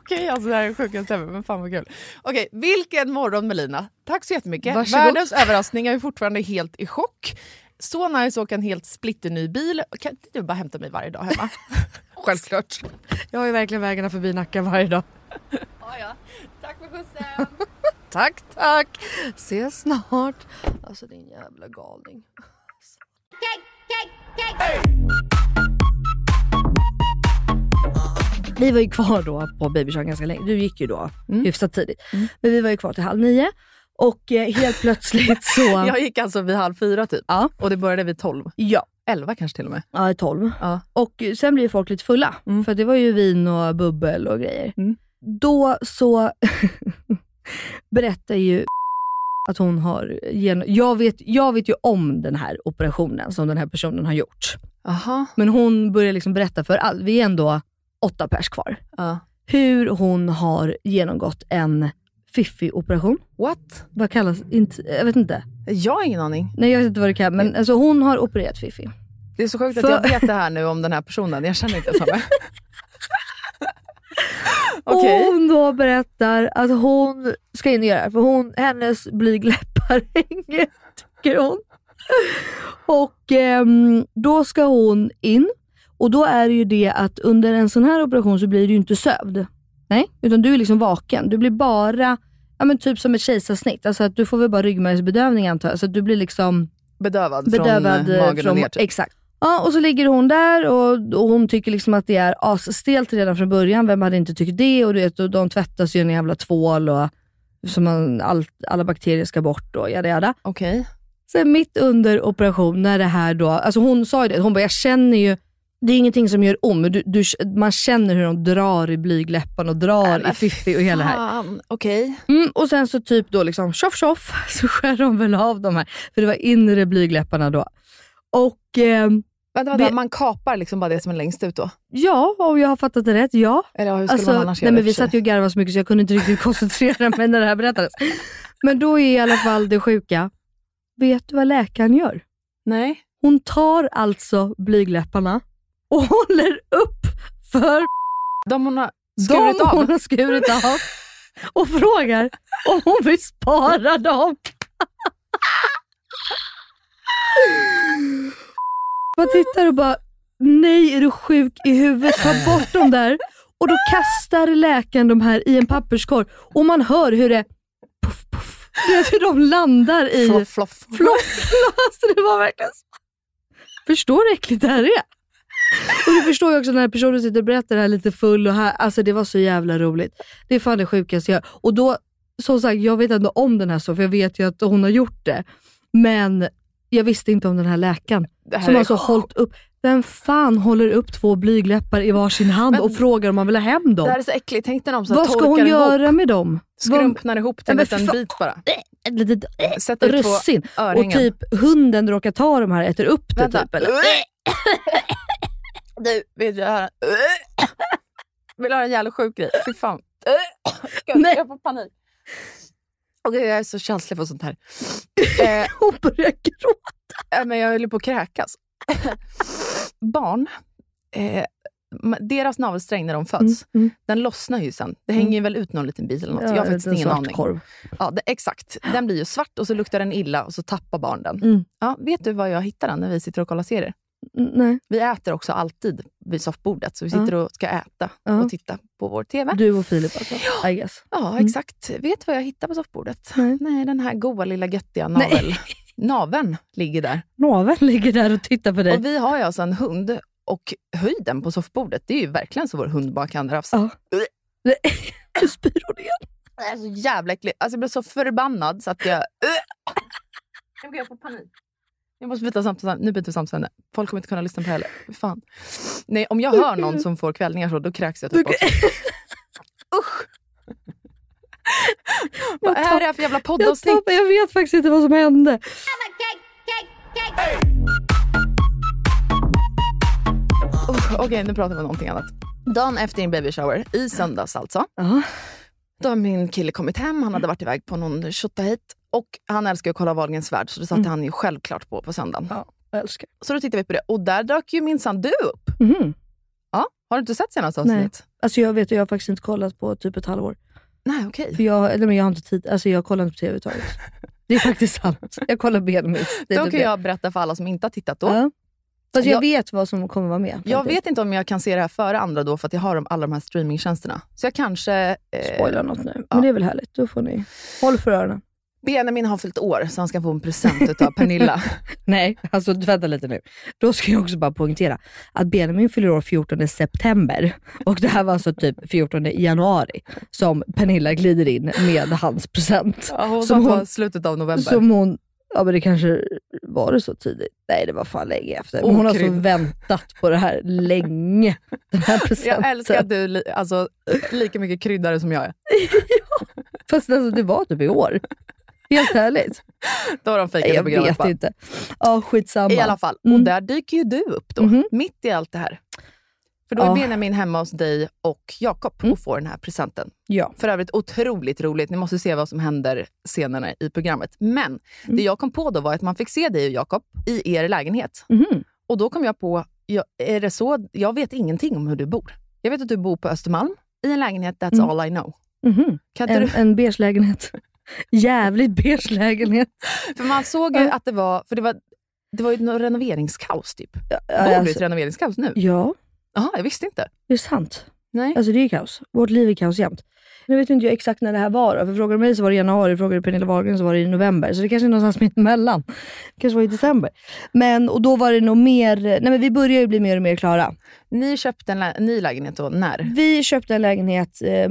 [SPEAKER 5] Okej, alltså det här är det sjukaste ever, men fan vad kul. Okej, vilken morgon Melina. Tack så jättemycket.
[SPEAKER 11] Varsågod.
[SPEAKER 5] Världens överraskning, jag är fortfarande helt i chock. Så nice att åka en helt splitterny bil. Kan inte du bara hämta mig varje dag hemma? Självklart.
[SPEAKER 11] Jag har ju verkligen vägarna förbi Nacka varje dag.
[SPEAKER 12] Tack för skjutsen!
[SPEAKER 11] Tack, tack! Ses snart. Alltså din jävla galning.
[SPEAKER 3] Alltså. Vi var ju kvar då på babyshowen ganska länge. Du gick ju då
[SPEAKER 11] Mm.
[SPEAKER 3] hyfsat tidigt. Men vi var ju kvar till halv nio och eh, helt plötsligt så...
[SPEAKER 5] Jag gick alltså vid halv fyra typ och det började vid tolv.
[SPEAKER 3] Ja.
[SPEAKER 5] Elva kanske till och med.
[SPEAKER 3] Ja, 12. Och eh, sen blir ju folk lite fulla, för det var ju vin och bubbel och grejer. Då så berättar ju att hon har... Gen... Jag, vet, jag vet ju om den här operationen som den här personen har gjort.
[SPEAKER 5] Aha.
[SPEAKER 3] Men hon börjar liksom berätta för alla. Vi är ändå åtta pers kvar. Hur hon har genomgått en fiffig operation.
[SPEAKER 5] What?
[SPEAKER 3] Vad kallas inte, Jag vet inte.
[SPEAKER 5] Jag har ingen aning.
[SPEAKER 3] Nej, jag vet inte vad det kan, men alltså, hon har opererat fiffi.
[SPEAKER 5] Det är så sjukt
[SPEAKER 3] För-
[SPEAKER 5] att jag vet det här nu om den här personen. Jag känner inte ens henne.
[SPEAKER 3] Och hon då berättar att hon ska in och göra det, för hon, hennes blygläppar hänger, tycker hon. Och ehm, då ska hon in och då är det ju det att under en sån här operation så blir du ju inte sövd. Nej, utan du är liksom vaken. Du blir bara, ja men typ som ett kejsarsnitt. Alltså att du får väl bara ryggmärgsbedövning antar jag. Så att du blir liksom
[SPEAKER 5] Bedövad,
[SPEAKER 3] bedövad
[SPEAKER 5] från
[SPEAKER 3] eh,
[SPEAKER 5] eh, magen och ner. typ.
[SPEAKER 3] Exakt. Ja, och så ligger hon där och, och hon tycker liksom att det är asstelt redan från början. Vem hade inte tyckt det? Och, du vet, och de tvättas ju i en jävla tvål och så man, allt, alla bakterier ska bort och jada jada.
[SPEAKER 5] Okej.
[SPEAKER 3] Sen mitt under operation, när det här då, alltså hon sa ju det, hon bara jag känner ju, det är ingenting som gör ont, men du, du, man känner hur de drar i blygläpparna och drar i fiffi och hela det här.
[SPEAKER 5] Fan, Okej.
[SPEAKER 3] Mm, och sen så typ då liksom tjoff tjoff så skär de väl av de här, för det var inre blygläpparna då. Och ehm,
[SPEAKER 5] Vänta, vänta.
[SPEAKER 3] Vi-
[SPEAKER 5] Man kapar liksom bara det som är längst ut då?
[SPEAKER 3] ja, om jag har fattat det rätt, ja.
[SPEAKER 5] Eller hur skulle man annars
[SPEAKER 3] Alltså, nej,
[SPEAKER 5] göra
[SPEAKER 3] men
[SPEAKER 5] i
[SPEAKER 3] Vi
[SPEAKER 5] och för sig?
[SPEAKER 3] satt ju och garvade så mycket så jag kunde inte riktigt koncentrera mig när det här berättades. Men då är i alla fall det sjuka, vet du vad läkaren gör?
[SPEAKER 5] Nej.
[SPEAKER 3] Hon tar alltså blygläpparna och håller upp för
[SPEAKER 5] De hon har
[SPEAKER 3] de
[SPEAKER 5] skurit av?
[SPEAKER 3] hon har skurit av och frågar om hon vill spara dem. Man tittar och bara, nej är du sjuk i huvudet, ta bort dem där. Och då kastar läkaren de här i en papperskorg och man hör hur det puff, puff, du vet hur de landar i...
[SPEAKER 5] Floff, floff.
[SPEAKER 3] Floff, alltså det var verkligen så. Förstår du hur äckligt det här är? Och du förstår ju också när personen sitter och berättar det här lite full och här, alltså det var så jävla roligt. Det är fan det sjukaste jag Och då, som sagt, jag vet ändå om den här så för jag vet ju att hon har gjort det. Men jag visste inte om den här läkaren.
[SPEAKER 5] Det här
[SPEAKER 3] som
[SPEAKER 5] är
[SPEAKER 3] alltså
[SPEAKER 5] sjukt.
[SPEAKER 3] hållit upp, vem fan håller upp två blygläppar i varsin hand
[SPEAKER 5] Men-
[SPEAKER 3] och frågar om man vill ha hem
[SPEAKER 5] Det
[SPEAKER 3] dem?
[SPEAKER 5] här är så äckligt. Tänk när de så här
[SPEAKER 3] Vad ska
[SPEAKER 5] torkar
[SPEAKER 3] hon
[SPEAKER 5] ihop.
[SPEAKER 3] göra med dem? Vad-
[SPEAKER 5] Skrumpnar ihop till en
[SPEAKER 3] Nej, men
[SPEAKER 5] liten
[SPEAKER 3] fan.
[SPEAKER 5] bit bara.
[SPEAKER 3] Ett litet äh,
[SPEAKER 5] Sätter ut på
[SPEAKER 3] russin. Och
[SPEAKER 5] örhängen.
[SPEAKER 3] typ hunden råkar ta de här och äter upp det.
[SPEAKER 5] Vänta.
[SPEAKER 3] Typ, eller?
[SPEAKER 5] Du, vill du höra? Vill du höra en jävla sjuk grej? Fy fan. Gud,
[SPEAKER 3] Nej.
[SPEAKER 5] Jag får panik. Okej, jag är så känslig för sånt här. Eh,
[SPEAKER 3] Hon börjar gråta.
[SPEAKER 5] Ja, men jag höll ju på att kräkas. Barn, eh, ma- deras navelsträng när de föds,
[SPEAKER 3] Mm,
[SPEAKER 5] den lossnar ju sen. Det hänger ju väl ut någon liten bit eller något. jag har faktiskt ingen aning.
[SPEAKER 3] Korv.
[SPEAKER 5] Ja, det, exakt. Den blir ju svart och så luktar den illa och så tappar barn den.
[SPEAKER 3] Mm.
[SPEAKER 5] Ja, vet du vad jag hittar den när vi sitter och kollar serier?
[SPEAKER 3] Mm, Nej,
[SPEAKER 5] Vi äter också alltid vid soffbordet, så vi sitter och ska äta
[SPEAKER 3] Ja.
[SPEAKER 5] och titta på vår TV.
[SPEAKER 3] du och Filip alltså. I guess.
[SPEAKER 5] Ja,
[SPEAKER 3] Mm.
[SPEAKER 5] exakt. Vet du vad jag hittade på soffbordet?
[SPEAKER 3] Nej.
[SPEAKER 5] den här goa lilla göttiga
[SPEAKER 3] Nej.
[SPEAKER 5] navel. Naven ligger där.
[SPEAKER 3] Naveln ligger där och tittar på dig.
[SPEAKER 5] Och vi har ju alltså en hund och höjden på soffbordet, det är ju verkligen så vår hund bara kan rafsa.
[SPEAKER 3] Nu spyr hon igen.
[SPEAKER 5] Det är så jävla äckligt. Alltså jag blev så förbannad så att jag... Nu går jag få panik. Jag måste byta samtal. Nu byter vi samtal. Folk kommer inte kunna lyssna på det heller. Fy Fan. Nej, om jag hör någon som får kvällningar så, då kräks jag typ också. Usch! Vad är det här för jävla
[SPEAKER 3] Jag,
[SPEAKER 5] poddavsnitt?
[SPEAKER 3] tappar, jag vet faktiskt inte vad som hände.
[SPEAKER 5] Usch, Okej, nu pratar vi om någonting annat. Dagen efter din baby shower, i söndags alltså, då har min kille kommit hem. Han hade varit iväg på någon hit och han älskar ju att kolla Wahlgrens värld, så det satte han ju självklart på på söndagen.
[SPEAKER 3] Mm. älskar.
[SPEAKER 5] Så då tittade vi på det och där dök ju minsann du upp. Ja, har du inte sett senaste
[SPEAKER 3] Nej.
[SPEAKER 5] avsnittet?
[SPEAKER 3] Mhm. Alltså jag vet att jag har faktiskt inte kollat på typ ett halvår.
[SPEAKER 5] Nej, okej.
[SPEAKER 3] För jag, eller men jag har inte tid. Alltså jag kollar inte på tv överhuvudtaget. Det är faktiskt sant. Jag kollar benmys. Det är
[SPEAKER 5] Då
[SPEAKER 3] typ
[SPEAKER 5] kan
[SPEAKER 3] det.
[SPEAKER 5] jag berätta för alla som inte har tittat då.
[SPEAKER 3] Ja. Fast jag,
[SPEAKER 5] Jag-
[SPEAKER 3] vet vad som kommer vara med.
[SPEAKER 5] Jag
[SPEAKER 3] faktiskt.
[SPEAKER 5] vet inte om jag kan se det här före andra då, för att jag har de, alla de här streamingtjänsterna. Så jag kanske... Eh,
[SPEAKER 3] Spoila något nu. Men det är väl härligt. Då får ni... Håll för öronen.
[SPEAKER 5] Benjamin har fyllt år, så han ska få en present av Pernilla.
[SPEAKER 3] Nej, alltså vänta lite nu. Då ska jag också bara poängtera att Benjamin fyller år 14 september och det här var alltså typ 14 januari som Pernilla glider in med hans present.
[SPEAKER 5] Ja, hon
[SPEAKER 3] Som
[SPEAKER 5] som
[SPEAKER 3] hon-
[SPEAKER 5] på slutet av november.
[SPEAKER 3] Som hon, ja men det kanske var det så tidigt? Nej det var fan länge efter. Men hon har så
[SPEAKER 5] Okryd.
[SPEAKER 3] väntat på det här länge. Den här presenten.
[SPEAKER 5] Jag älskar att du li, alltså, lika mycket kryddare som jag är.
[SPEAKER 3] Fast alltså, det var typ i år. Helt ärligt.
[SPEAKER 5] Då har de
[SPEAKER 3] Nej,
[SPEAKER 5] fejkat
[SPEAKER 3] jag
[SPEAKER 5] programmet
[SPEAKER 3] vet
[SPEAKER 5] bara.
[SPEAKER 3] inte. Ja, skitsamma.
[SPEAKER 5] I alla fall,
[SPEAKER 3] Mm. Mhm.
[SPEAKER 5] och där dyker ju du upp då, mitt i allt det här. För då är
[SPEAKER 3] Ja.
[SPEAKER 5] Benjamin hemma hos dig och Jakob
[SPEAKER 3] Mm.
[SPEAKER 5] och får den här presenten.
[SPEAKER 3] Ja.
[SPEAKER 5] För övrigt otroligt roligt. Ni måste se vad som händer senare i programmet. Men det
[SPEAKER 3] Mm.
[SPEAKER 5] jag kom på då var att man fick se dig och Jakob i er lägenhet.
[SPEAKER 3] Mhm,
[SPEAKER 5] Och då kom jag på, jag, är det så, jag vet ingenting om hur du bor. Jag vet att du bor på Östermalm i en lägenhet, that's
[SPEAKER 3] Mm.
[SPEAKER 5] all I know.
[SPEAKER 3] Mhm.
[SPEAKER 5] Kan inte
[SPEAKER 3] En,
[SPEAKER 5] du,
[SPEAKER 3] en beige lägenhet. Jävligt beige lägenhet.
[SPEAKER 5] för man såg ju att det var, för det var, det var ju något renoveringskaos typ. Bor du i ett
[SPEAKER 3] alltså-
[SPEAKER 5] renoveringskaos nu?
[SPEAKER 3] Ja,
[SPEAKER 5] Jaha, jag visste inte.
[SPEAKER 3] det är sant.
[SPEAKER 5] Nej.
[SPEAKER 3] Alltså det är ju kaos. Vårt liv är kaos jämt. Nu vet inte jag exakt när det här var. då, För frågar du mig så var det i januari, frågar du Pernilla Wahlgren så var det i november. Så det kanske är någonstans mitt emellan. Det kanske var i december. Men, och då var det nog mer... Nej men vi börjar ju bli mer och mer klara.
[SPEAKER 5] Ni köpte en lä- ny lägenhet då, när?
[SPEAKER 3] Vi köpte en lägenhet eh,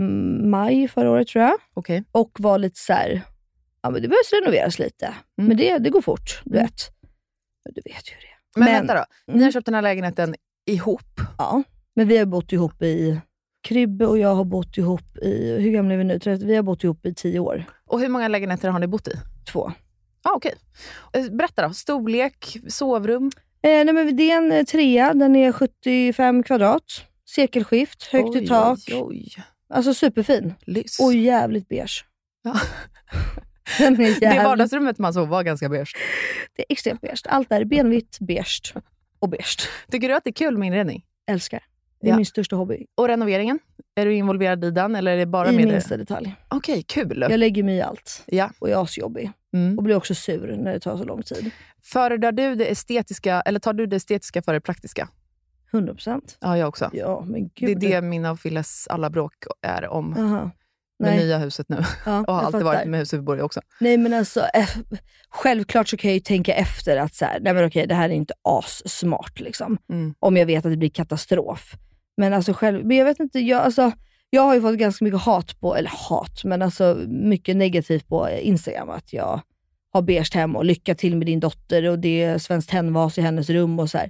[SPEAKER 3] maj förra året tror jag.
[SPEAKER 5] Okej.
[SPEAKER 3] Och var lite så här, ja men det behövs renoveras lite. Men det, det går fort, du vet. Men du vet ju hur det är.
[SPEAKER 5] Men, vänta då,
[SPEAKER 3] Mm.
[SPEAKER 5] ni har köpt den här lägenheten ihop.
[SPEAKER 3] Ja, men vi har bott ihop i... Kribbe och jag har bott ihop i, hur gamla är vi nu? 30, vi har bott ihop i tio år.
[SPEAKER 5] Och hur många lägenheter har ni bott i?
[SPEAKER 3] Två.
[SPEAKER 5] Ja, ah, okej. Eh, Berätta då, storlek, sovrum?
[SPEAKER 3] Eh, nej, men det är en eh, trea, den är 75 kvadrat, cirkelskift, högt i
[SPEAKER 5] Oj,
[SPEAKER 3] tak.
[SPEAKER 5] Oj, oj.
[SPEAKER 3] Alltså superfin.
[SPEAKER 5] Lyss.
[SPEAKER 3] Och jävligt beige.
[SPEAKER 5] Ja.
[SPEAKER 3] Den är jävligt,
[SPEAKER 5] Det
[SPEAKER 3] det,
[SPEAKER 5] vardagsrummet man sov var ganska beige.
[SPEAKER 3] är extremt beige. Allt där är benvitt, beige och beige.
[SPEAKER 5] Tycker du att det är kul med inredning?
[SPEAKER 3] Älskar. Det är
[SPEAKER 5] Ja.
[SPEAKER 3] min största hobby.
[SPEAKER 5] Och renoveringen? Är du involverad i den eller är det bara
[SPEAKER 3] I
[SPEAKER 5] med
[SPEAKER 3] minsta
[SPEAKER 5] det?
[SPEAKER 3] detalj.
[SPEAKER 5] Okej, kul.
[SPEAKER 3] Jag lägger mig i allt
[SPEAKER 5] Ja.
[SPEAKER 3] och jag är asjobbig.
[SPEAKER 5] Mm.
[SPEAKER 3] Och blir också sur när det tar så lång tid.
[SPEAKER 5] Föredrar du det estetiska, eller tar du det estetiska före det praktiska?
[SPEAKER 3] 100%.
[SPEAKER 5] Ja, jag också.
[SPEAKER 3] Ja, men
[SPEAKER 5] Det är
[SPEAKER 3] gud.
[SPEAKER 5] det mina och Filles alla bråk är om.
[SPEAKER 3] Aha.
[SPEAKER 5] Med
[SPEAKER 3] Nej.
[SPEAKER 5] nya huset nu.
[SPEAKER 3] Ja,
[SPEAKER 5] och har
[SPEAKER 3] jag
[SPEAKER 5] alltid
[SPEAKER 3] fattar.
[SPEAKER 5] varit med huset i Borg också.
[SPEAKER 3] Nej men alltså, eh, självklart så kan jag ju tänka efter att så här, nej men okej, det här är inte assmart. Liksom.
[SPEAKER 5] Mm.
[SPEAKER 3] Om jag vet att det blir katastrof. Men alltså själv, men jag vet inte, jag, alltså, jag har ju fått ganska mycket hat på, eller hat, men alltså mycket negativt på Instagram. Att jag har beige hem och lycka till med din dotter och det är svenskt tändvas i hennes rum och så här.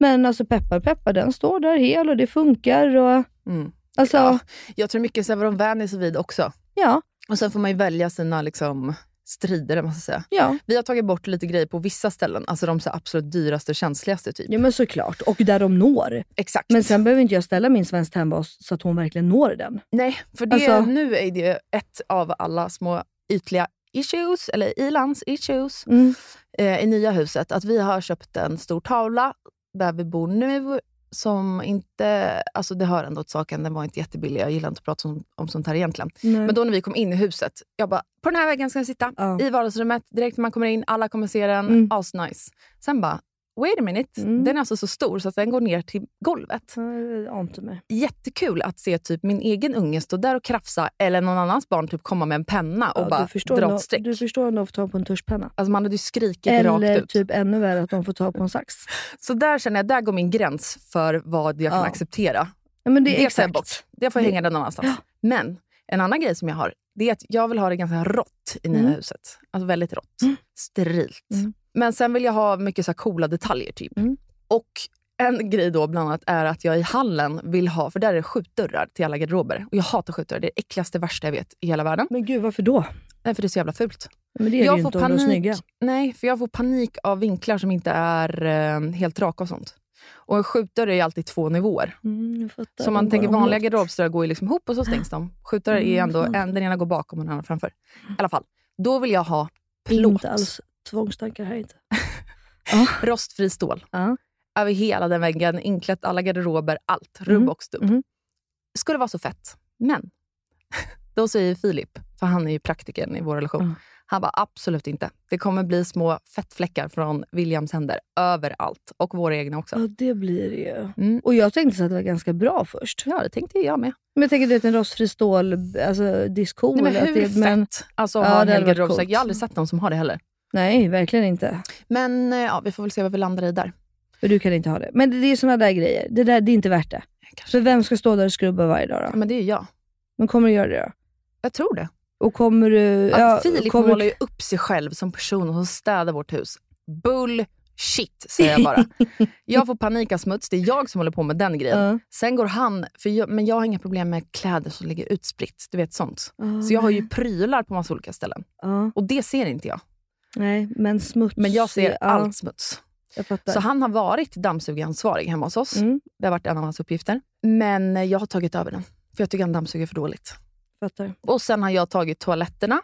[SPEAKER 3] Men alltså peppar peppar, den står där hel och det funkar. Och,
[SPEAKER 5] Mm.
[SPEAKER 3] alltså,
[SPEAKER 5] Ja.
[SPEAKER 3] ja.
[SPEAKER 5] Jag tror mycket så här vad de vänjer sig vid också.
[SPEAKER 3] ja,
[SPEAKER 5] Och sen får man ju välja sina liksom, strider, eller vad man ska säga.
[SPEAKER 3] ja.
[SPEAKER 5] Vi har tagit bort lite grejer på vissa ställen, alltså de så här absolut dyraste, känsligaste typ.
[SPEAKER 3] men såklart. Och där de når.
[SPEAKER 5] Exakt.
[SPEAKER 3] Men sen behöver inte jag ställa min svensk tandbas så att hon verkligen når den.
[SPEAKER 5] Nej, för det,
[SPEAKER 3] Alltså-
[SPEAKER 5] nu är det ett av alla små ytliga issues, eller ilans issues,
[SPEAKER 3] Mm.
[SPEAKER 5] eh, i nya huset. Att vi har köpt en stor tavla där vi bor nu, som inte... Alltså det hör ändå till saken, den var inte jättebillig. Jag gillar inte att prata om, om sånt här egentligen. Men då när vi kom in i huset, jag bara, på den här väggen ska den sitta.
[SPEAKER 3] Mm. Ja.
[SPEAKER 5] I vardagsrummet, direkt när man kommer in, alla kommer se den.
[SPEAKER 3] Mm.
[SPEAKER 5] Asnice. Sen bara, wait a minute, den är alltså så stor så att den går ner till golvet.
[SPEAKER 3] Ante mig.
[SPEAKER 5] Jättekul att se typ min egen unge stå där och krafsa eller någon annans barn typ komma med en penna och bara
[SPEAKER 3] du förstår
[SPEAKER 5] dra
[SPEAKER 3] ändå-
[SPEAKER 5] åt streck.
[SPEAKER 3] Du förstår om de får tag på en tuschpenna.
[SPEAKER 5] Alltså man hade ju skrikit
[SPEAKER 3] Eller
[SPEAKER 5] rakt ut.
[SPEAKER 3] typ ännu värre att de får tag på en sax.
[SPEAKER 5] Så där känner jag, där går min gräns för vad jag kan
[SPEAKER 3] Ja.
[SPEAKER 5] acceptera.
[SPEAKER 3] Ja, men det är
[SPEAKER 5] tar jag
[SPEAKER 3] exakt.
[SPEAKER 5] bort. Det får jag
[SPEAKER 3] Det-
[SPEAKER 5] hänga den någon annanstans.
[SPEAKER 3] Ja.
[SPEAKER 5] Men en annan grej som jag har, det är att jag vill ha det ganska rått i nya
[SPEAKER 3] Mm.
[SPEAKER 5] huset. Alltså väldigt rått. Sterilt. Men sen vill jag ha mycket så här coola detaljer typ.
[SPEAKER 3] Mm.
[SPEAKER 5] Och en grej då bland annat är att jag i hallen vill ha, för där är det skjutdörrar till alla garderober. Och jag hatar skjutdörrar, det är det äckligaste, värsta jag vet i hela världen.
[SPEAKER 3] Men gud, varför då?
[SPEAKER 5] Nej, för det är så jävla fult.
[SPEAKER 3] Men det är det ju inte om de är snygga.
[SPEAKER 5] Nej, för jag får panik av vinklar som inte är eh, helt raka och sånt. Och en skjutdörr är ju alltid två nivåer.
[SPEAKER 3] Mm, jag fattar.
[SPEAKER 5] Så man
[SPEAKER 3] De
[SPEAKER 5] tänker
[SPEAKER 3] bara-
[SPEAKER 5] vanliga garderobsdörrar går ju liksom ihop och så stängs de. Skjutdörrar är ju ändå,
[SPEAKER 3] Mm.
[SPEAKER 5] en, den ena går bakom och den andra framför. I alla fall, då vill jag ha plåt.
[SPEAKER 3] Inte alls tvångstankar här inte.
[SPEAKER 5] Rostfri stål. Över hela den väggen, inklätt alla garderober, allt. Rubb
[SPEAKER 3] Mm-hmm.
[SPEAKER 5] och stubb. Skulle vara så fett. Men då säger Filip, för han är ju praktikern i vår relation, han bara absolut inte. Det kommer bli små fettfläckar från Williams händer överallt. Och våra egna också.
[SPEAKER 3] Ja, det blir det ju.
[SPEAKER 5] Mm.
[SPEAKER 3] Och jag tänkte så att det var ganska bra först.
[SPEAKER 5] Ja, det tänkte jag med.
[SPEAKER 3] Men jag tänker du vet en rostfri stål, alltså diskon.
[SPEAKER 5] Nej, men
[SPEAKER 3] att
[SPEAKER 5] hur
[SPEAKER 3] det, men...
[SPEAKER 5] fett? Alltså,
[SPEAKER 3] Ja,
[SPEAKER 5] ha en
[SPEAKER 3] det
[SPEAKER 5] hel
[SPEAKER 3] hade varit
[SPEAKER 5] garderob. Så
[SPEAKER 3] coolt.
[SPEAKER 5] Jag har aldrig sett någon som har det heller.
[SPEAKER 3] Nej, verkligen inte.
[SPEAKER 5] Men eh, ja, vi får väl se vad vi landar i där.
[SPEAKER 3] Men du kan inte ha det. Men det är såna där grejer. Det, där, det är inte värt det. Så vem ska stå där och skrubba varje dag då?
[SPEAKER 5] Ja, men det är ju jag.
[SPEAKER 3] Men kommer du göra det då?
[SPEAKER 5] Jag tror det.
[SPEAKER 3] Och kommer du...
[SPEAKER 5] Att
[SPEAKER 3] ja,
[SPEAKER 5] Filip
[SPEAKER 3] kommer,
[SPEAKER 5] målar ju upp sig själv som person och som städar vårt hus. Bullshit, säger jag bara. jag får panik av smuts. Det är jag som håller på med den grejen. Sen går han... För jag, men jag har inga problem med kläder som ligger utspritt. Du vet sånt.
[SPEAKER 3] Ja,
[SPEAKER 5] Så jag har
[SPEAKER 3] nej.
[SPEAKER 5] ju prylar på massa olika ställen.
[SPEAKER 3] Ah, Ja.
[SPEAKER 5] Och det ser inte jag.
[SPEAKER 3] Nej, men smuts.
[SPEAKER 5] Men jag ser
[SPEAKER 3] ja.
[SPEAKER 5] allt smuts.
[SPEAKER 3] Jag fattar.
[SPEAKER 5] Så han har varit dammsugaransvarig hemma hos oss.
[SPEAKER 3] Mm.
[SPEAKER 5] Det har varit en av hans uppgifter. Men jag har tagit över den, för jag tycker han dammsuger för dåligt.
[SPEAKER 3] Fattar.
[SPEAKER 5] Och sen har jag tagit toaletterna,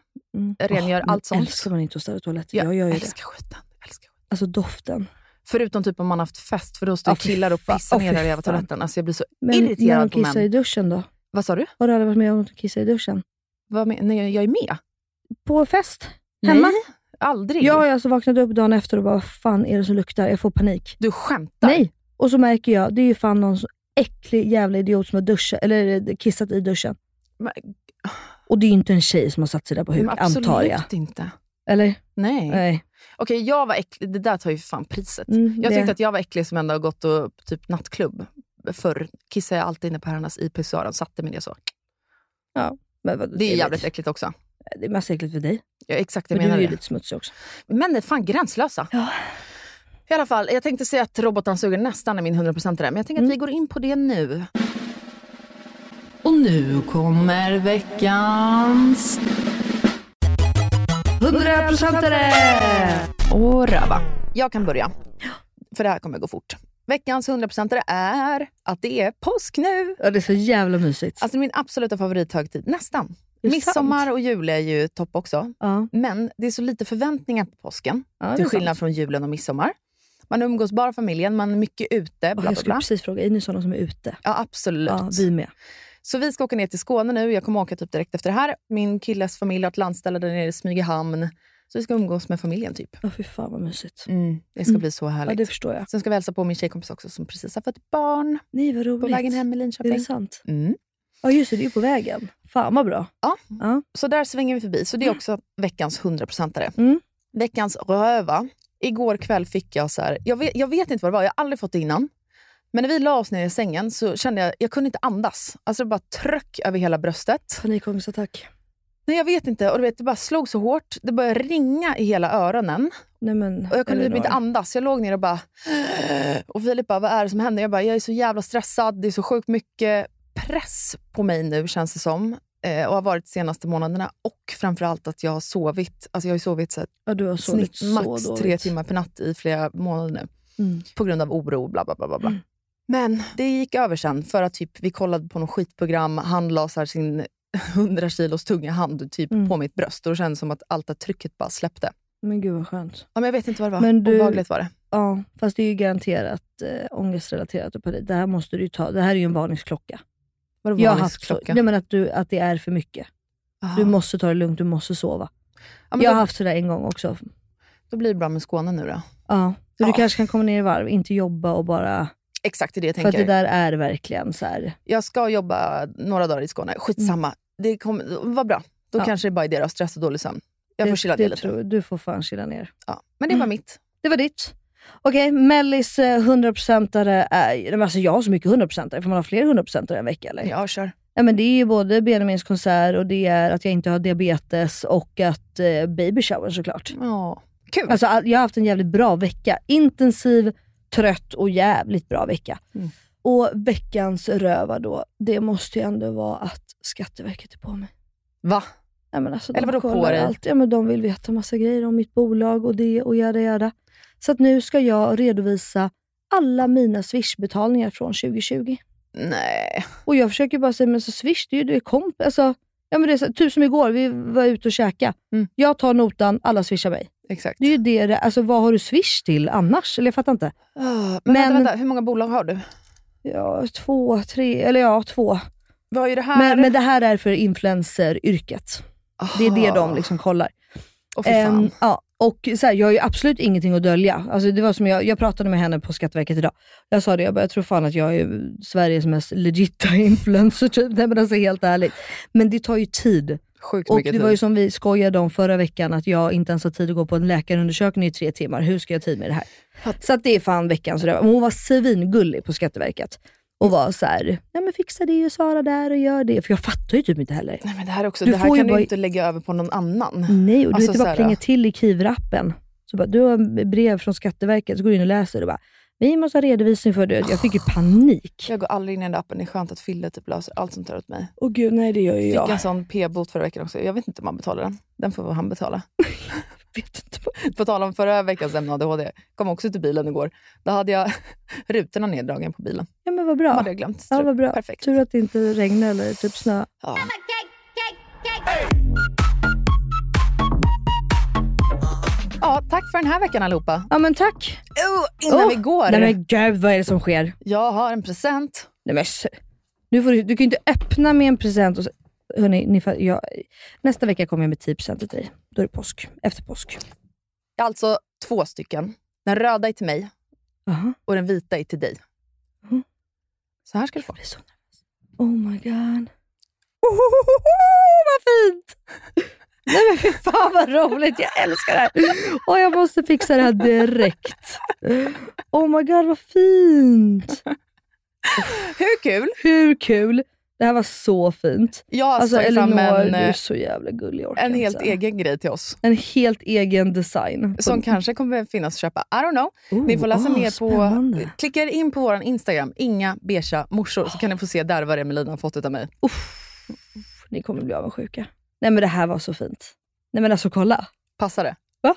[SPEAKER 5] rengör
[SPEAKER 3] Åh, men
[SPEAKER 5] allt sånt.
[SPEAKER 3] Älskar man inte att städa toaletter? Jag, gör ju det.
[SPEAKER 5] älskar skiten.
[SPEAKER 3] Alltså doften.
[SPEAKER 5] Förutom typ om man har haft fest, för då står
[SPEAKER 3] Ja, fy
[SPEAKER 5] killar och
[SPEAKER 3] fan.
[SPEAKER 5] pissar
[SPEAKER 3] Ja,
[SPEAKER 5] ner
[SPEAKER 3] fy
[SPEAKER 5] där i jävla
[SPEAKER 3] fan.
[SPEAKER 5] toaletten. Alltså jag blir så
[SPEAKER 3] Men när de
[SPEAKER 5] irriterad på
[SPEAKER 3] kissar i
[SPEAKER 5] män.
[SPEAKER 3] duschen då?
[SPEAKER 5] Vad sa du?
[SPEAKER 3] Har du aldrig varit med om att de kissar i duschen?
[SPEAKER 5] Vad men, när jag är med?
[SPEAKER 3] På fest? Hemma?
[SPEAKER 5] Nej, aldrig.
[SPEAKER 3] Jag har alltså vaknat upp dagen efter och bara, vad fan är det som luktar? Jag får panik.
[SPEAKER 5] Du skämtar?
[SPEAKER 3] Nej. Och så märker jag, det är ju fan någon så äcklig jävla idiot som har duschat, eller eh, kissat i duschen.
[SPEAKER 5] Men-
[SPEAKER 3] Och det är ju inte en tjej som har satt sig där på huk,
[SPEAKER 5] Men Mm, absolut
[SPEAKER 3] antar jag.
[SPEAKER 5] inte.
[SPEAKER 3] Eller?
[SPEAKER 5] Nej.
[SPEAKER 3] Nej.
[SPEAKER 5] Okej, jag var äcklig. Det där tar ju fan priset.
[SPEAKER 3] Mm,
[SPEAKER 5] jag
[SPEAKER 3] det-
[SPEAKER 5] tyckte att jag var äcklig som ändå har gått och typ nattklubb. Förr kissade jag alltid inne på herrarnas i pissoaren, satte mig ner så.
[SPEAKER 3] Ja, men vad,
[SPEAKER 5] Det är jävligt äckligt också.
[SPEAKER 3] Det är mest äckligt för dig.
[SPEAKER 5] Ja, exakt, jag
[SPEAKER 3] Men du
[SPEAKER 5] menar
[SPEAKER 3] är ju
[SPEAKER 5] det.
[SPEAKER 3] lite smutsig också.
[SPEAKER 5] Män är fan gränslösa. I alla fall, jag tänkte säga att robotdammsugaren nästan är min 100% där, men jag tänker
[SPEAKER 3] Mm.
[SPEAKER 5] att vi går in på det nu. Och nu kommer veckans...
[SPEAKER 3] 100%are!
[SPEAKER 5] Och röva. Jag kan börja, för det här kommer gå fort. Veckans 100% är att det är påsk nu.
[SPEAKER 3] Ja, det är så jävla mysigt.
[SPEAKER 5] Alltså min absoluta favorithögtid, nästan.
[SPEAKER 3] Är det
[SPEAKER 5] Midsommar
[SPEAKER 3] sant?
[SPEAKER 5] och jul är ju topp också. Men det är så lite förväntningar på påsken.
[SPEAKER 3] Ja, det är
[SPEAKER 5] till skillnad
[SPEAKER 3] sant.
[SPEAKER 5] från julen och midsommar. Man umgås bara familjen, man är mycket ute. Bla,
[SPEAKER 3] Ja,
[SPEAKER 5] bla,
[SPEAKER 3] jag skulle
[SPEAKER 5] bla.
[SPEAKER 3] precis fråga, är ni sådana som är ute?
[SPEAKER 5] Ja, absolut.
[SPEAKER 3] Ja, vi med.
[SPEAKER 5] Så vi ska åka ner till Skåne nu. Jag kommer åka typ direkt efter det här. Min killes familj har ett landställe där nere i Smygehamn. Så vi ska umgås med familjen typ.
[SPEAKER 3] Ja, fy fan vad mysigt.
[SPEAKER 5] Mm, det ska
[SPEAKER 3] Mm.
[SPEAKER 5] bli så härligt.
[SPEAKER 3] Ja, det förstår jag.
[SPEAKER 5] Sen ska vi hälsa på min tjejkompis också som precis har fått barn.
[SPEAKER 3] Nej, vad roligt.
[SPEAKER 5] På vägen hem i Linköping.
[SPEAKER 3] Är det sant?
[SPEAKER 5] Mm.
[SPEAKER 3] Ja, just det. Det är ju på vägen. Fan vad bra.
[SPEAKER 5] Ja. Så där svänger vi förbi. Så det är också veckans 100-procentare.
[SPEAKER 3] Mm.
[SPEAKER 5] Veckans röva. Igår kväll fick jag så här, jag vet, jag vet inte vad det var, jag har aldrig fått det innan. Men när vi la oss ner i sängen så kände jag, jag kunde inte andas. Alltså det bara tröck över hela bröstet.
[SPEAKER 3] Panikångestattack.
[SPEAKER 5] Nej jag vet inte, och du vet, det bara slog så hårt. Det började ringa i hela öronen.
[SPEAKER 3] Nej, men,
[SPEAKER 5] Och jag kunde typ
[SPEAKER 3] Elinor.
[SPEAKER 5] inte andas. Jag låg ner och bara... Och Filip bara, vad är det som händer? Jag bara, jag är så jävla stressad. Det är så sjukt mycket press på mig nu känns det som. Eh, och har varit de senaste månaderna. Och framförallt att jag har sovit. Alltså jag har ju sovit så här,
[SPEAKER 3] Ja, du har sovit
[SPEAKER 5] snitt
[SPEAKER 3] så
[SPEAKER 5] max tre
[SPEAKER 3] dåligt.
[SPEAKER 5] timmar per natt i flera månader nu.
[SPEAKER 3] Mm.
[SPEAKER 5] På grund av oro, bla bla bla. bla, bla. Mm. Men det gick över sen för att typ, vi kollade på något skitprogram. Han la så här sin 100 kilos tunga hand typ på mitt bröst. Och det kändes som att allt det här trycket bara släppte.
[SPEAKER 3] Men gud vad skönt.
[SPEAKER 5] Ja, men jag vet inte vad det var.
[SPEAKER 3] Men du-
[SPEAKER 5] Obehagligt var det.
[SPEAKER 3] Ja, fast det är ju garanterat eh, ångestrelaterat och panik. Det här måste du ju ta. Det här är ju en varningsklocka.
[SPEAKER 5] Vadå
[SPEAKER 3] Jag har haft så-
[SPEAKER 5] varningsklocka?
[SPEAKER 3] Nej, men att, du, att det är för mycket.
[SPEAKER 5] Aha.
[SPEAKER 3] Ah. Du måste ta det lugnt, du måste sova.
[SPEAKER 5] men
[SPEAKER 3] jag
[SPEAKER 5] då-
[SPEAKER 3] har haft sådär en gång också.
[SPEAKER 5] Då blir det bra med Skåne nu då.
[SPEAKER 3] Ja. Så du kanske kan komma ner i varv, inte jobba och bara...
[SPEAKER 5] Exakt, det är det jag
[SPEAKER 3] För att
[SPEAKER 5] tänker.
[SPEAKER 3] det där är verkligen så här...
[SPEAKER 5] Jag ska jobba några dagar i Skåne. Skitsamma. Det kommer vad bra. Då
[SPEAKER 3] Ja.
[SPEAKER 5] kanske det bara är det då. Stress och dålig sömn. Jag
[SPEAKER 3] Det-
[SPEAKER 5] får chilla
[SPEAKER 3] det
[SPEAKER 5] ner lite.
[SPEAKER 3] tror- Du får fan chilla ner.
[SPEAKER 5] Ja. Men det var
[SPEAKER 3] Mm.
[SPEAKER 5] mitt.
[SPEAKER 3] Det var ditt. Okej, Mellis eh, 100-procentare är... nej, men Alltså jag har så mycket 100-procentare. Får man ha fler 100-procentare en vecka eller?
[SPEAKER 5] Ja, kör.
[SPEAKER 3] Ja, men det är ju både Benjamins konsert och det är att jag inte har diabetes och att eh, baby shower såklart.
[SPEAKER 5] Ja, kul.
[SPEAKER 3] Alltså, all- jag har haft en jävligt bra vecka. Intensiv, trött och jävligt bra vecka.
[SPEAKER 5] Mm.
[SPEAKER 3] Och veckans röva då, det måste ju ändå vara att Skatteverket är på mig.
[SPEAKER 5] Va?
[SPEAKER 3] Ja, men alltså,
[SPEAKER 5] Eller
[SPEAKER 3] de
[SPEAKER 5] vadå på
[SPEAKER 3] kollar
[SPEAKER 5] dig?
[SPEAKER 3] Allt. Ja, men de vill veta massa grejer om mitt bolag och det och jada jada. Så att nu ska jag redovisa alla mina Swish-betalningar från 2020.
[SPEAKER 5] Nej.
[SPEAKER 3] Och jag försöker bara säga, men så Swish, det är ju du är komp... Alltså, ja, men det är så, typ som igår, vi var ute och käka.
[SPEAKER 5] Mm.
[SPEAKER 3] Jag tar notan, alla swishar mig.
[SPEAKER 5] Exakt.
[SPEAKER 3] Det är ju det, det- alltså, vad har du Swish till annars? Eller jag fattar inte.
[SPEAKER 5] Ah, men vänta, vänta, hur många bolag har du?
[SPEAKER 3] Ja, två, tre, eller ja, två.
[SPEAKER 5] Vad är det här?
[SPEAKER 3] Men, men det här är för influenceryrket. Det är det de liksom kollar.
[SPEAKER 5] Åh, fy fan.
[SPEAKER 3] Ehm, ja, och så här, jag har ju absolut ingenting att dölja. Alltså, det var som jag, jag pratade med henne på Skatteverket idag. Jag sa det, jag, bara, jag tror fan att jag är Sveriges mest legita influencer. Typ. Nej, men alltså, helt ärligt. Men det tar ju tid.
[SPEAKER 5] Sjukt
[SPEAKER 3] och
[SPEAKER 5] mycket
[SPEAKER 3] det var ju
[SPEAKER 5] tid.
[SPEAKER 3] som vi skojade om förra veckan, att jag inte ens har tid att gå på en läkarundersökning i tre timmar. Hur ska jag ha tid med det här? Så att det är fan veckans röv. Men Hon var svingullig på Skatteverket. Och var så här, nej men fixa det och svara där och gör det. För jag fattar ju typ inte heller.
[SPEAKER 5] Nej, men det här också,
[SPEAKER 3] Du
[SPEAKER 5] det här
[SPEAKER 3] får ju
[SPEAKER 5] kan du
[SPEAKER 3] bara-
[SPEAKER 5] ju inte lägga över på någon annan.
[SPEAKER 3] Nej, och du vet,
[SPEAKER 5] Alltså,
[SPEAKER 3] det
[SPEAKER 5] så
[SPEAKER 3] bara
[SPEAKER 5] här,
[SPEAKER 3] plingar till i Kivra-appen. Så bara, du har ett brev från Skatteverket, så går du in och läser och bara, vi måste ha redovisning för det. Jag fick ju panik.
[SPEAKER 5] Jag går aldrig in i den där appen. Det är skönt att Fille typ löser allt sånt där åt mig.
[SPEAKER 3] Åh gud, nej det gör ju
[SPEAKER 5] Fick
[SPEAKER 3] jag.
[SPEAKER 5] en sån p-bot förra veckan också. Jag vet inte om han betalar den. Den får han betala. På tal om förra veckans ämne ADHD. kom också till bilen igår. Då hade jag rutorna neddragen på bilen.
[SPEAKER 3] Ja men vad bra.
[SPEAKER 5] hade jag glömt.
[SPEAKER 3] Ja, vad bra. Tur att det inte regnade eller typ snö.
[SPEAKER 5] Ja. Ja, tack för den här veckan allihopa.
[SPEAKER 3] Ja men tack.
[SPEAKER 5] Oh, innan
[SPEAKER 3] Åh,
[SPEAKER 5] vi går.
[SPEAKER 3] Nej men gud, vad är det som sker?
[SPEAKER 5] Jag har en present.
[SPEAKER 3] Nej, men, s- nu får du, du kan ju inte öppna med en present. Och, s- hörni, ni, fa- jag, nästa vecka kommer jag med 10% till dig. Då är det påsk. Efter påsk.
[SPEAKER 5] Alltså två stycken. Den röda är till mig och den vita är till dig.
[SPEAKER 3] Mm.
[SPEAKER 5] Så här ska du få.
[SPEAKER 3] Oh my god. vad fint! Nej men fy fan vad roligt, jag älskar det här. Åh, jag måste fixa det här direkt. Oh my god vad fint!
[SPEAKER 5] Hur kul?
[SPEAKER 3] Hur kul! Det här var så fint.
[SPEAKER 5] Jag har
[SPEAKER 3] alltså
[SPEAKER 5] tagit fram
[SPEAKER 3] Elinor,
[SPEAKER 5] en,
[SPEAKER 3] du är
[SPEAKER 5] eh,
[SPEAKER 3] så jävla gullig. jag orkar
[SPEAKER 5] En helt
[SPEAKER 3] inte.
[SPEAKER 5] egen grej till oss.
[SPEAKER 3] En helt egen design.
[SPEAKER 5] Som kanske kommer finnas att köpa. I don't know.
[SPEAKER 3] Oh,
[SPEAKER 5] ni får läsa
[SPEAKER 3] åh,
[SPEAKER 5] mer
[SPEAKER 3] spännande.
[SPEAKER 5] på... Klicka er in på vår Instagram, inga beiga morsor, så kan ni få se där vad det är Melina har fått utav mig.
[SPEAKER 3] Ni kommer bli avundsjuka. Nej men det här var så fint. Nej men alltså kolla.
[SPEAKER 5] Passar det?
[SPEAKER 3] Va?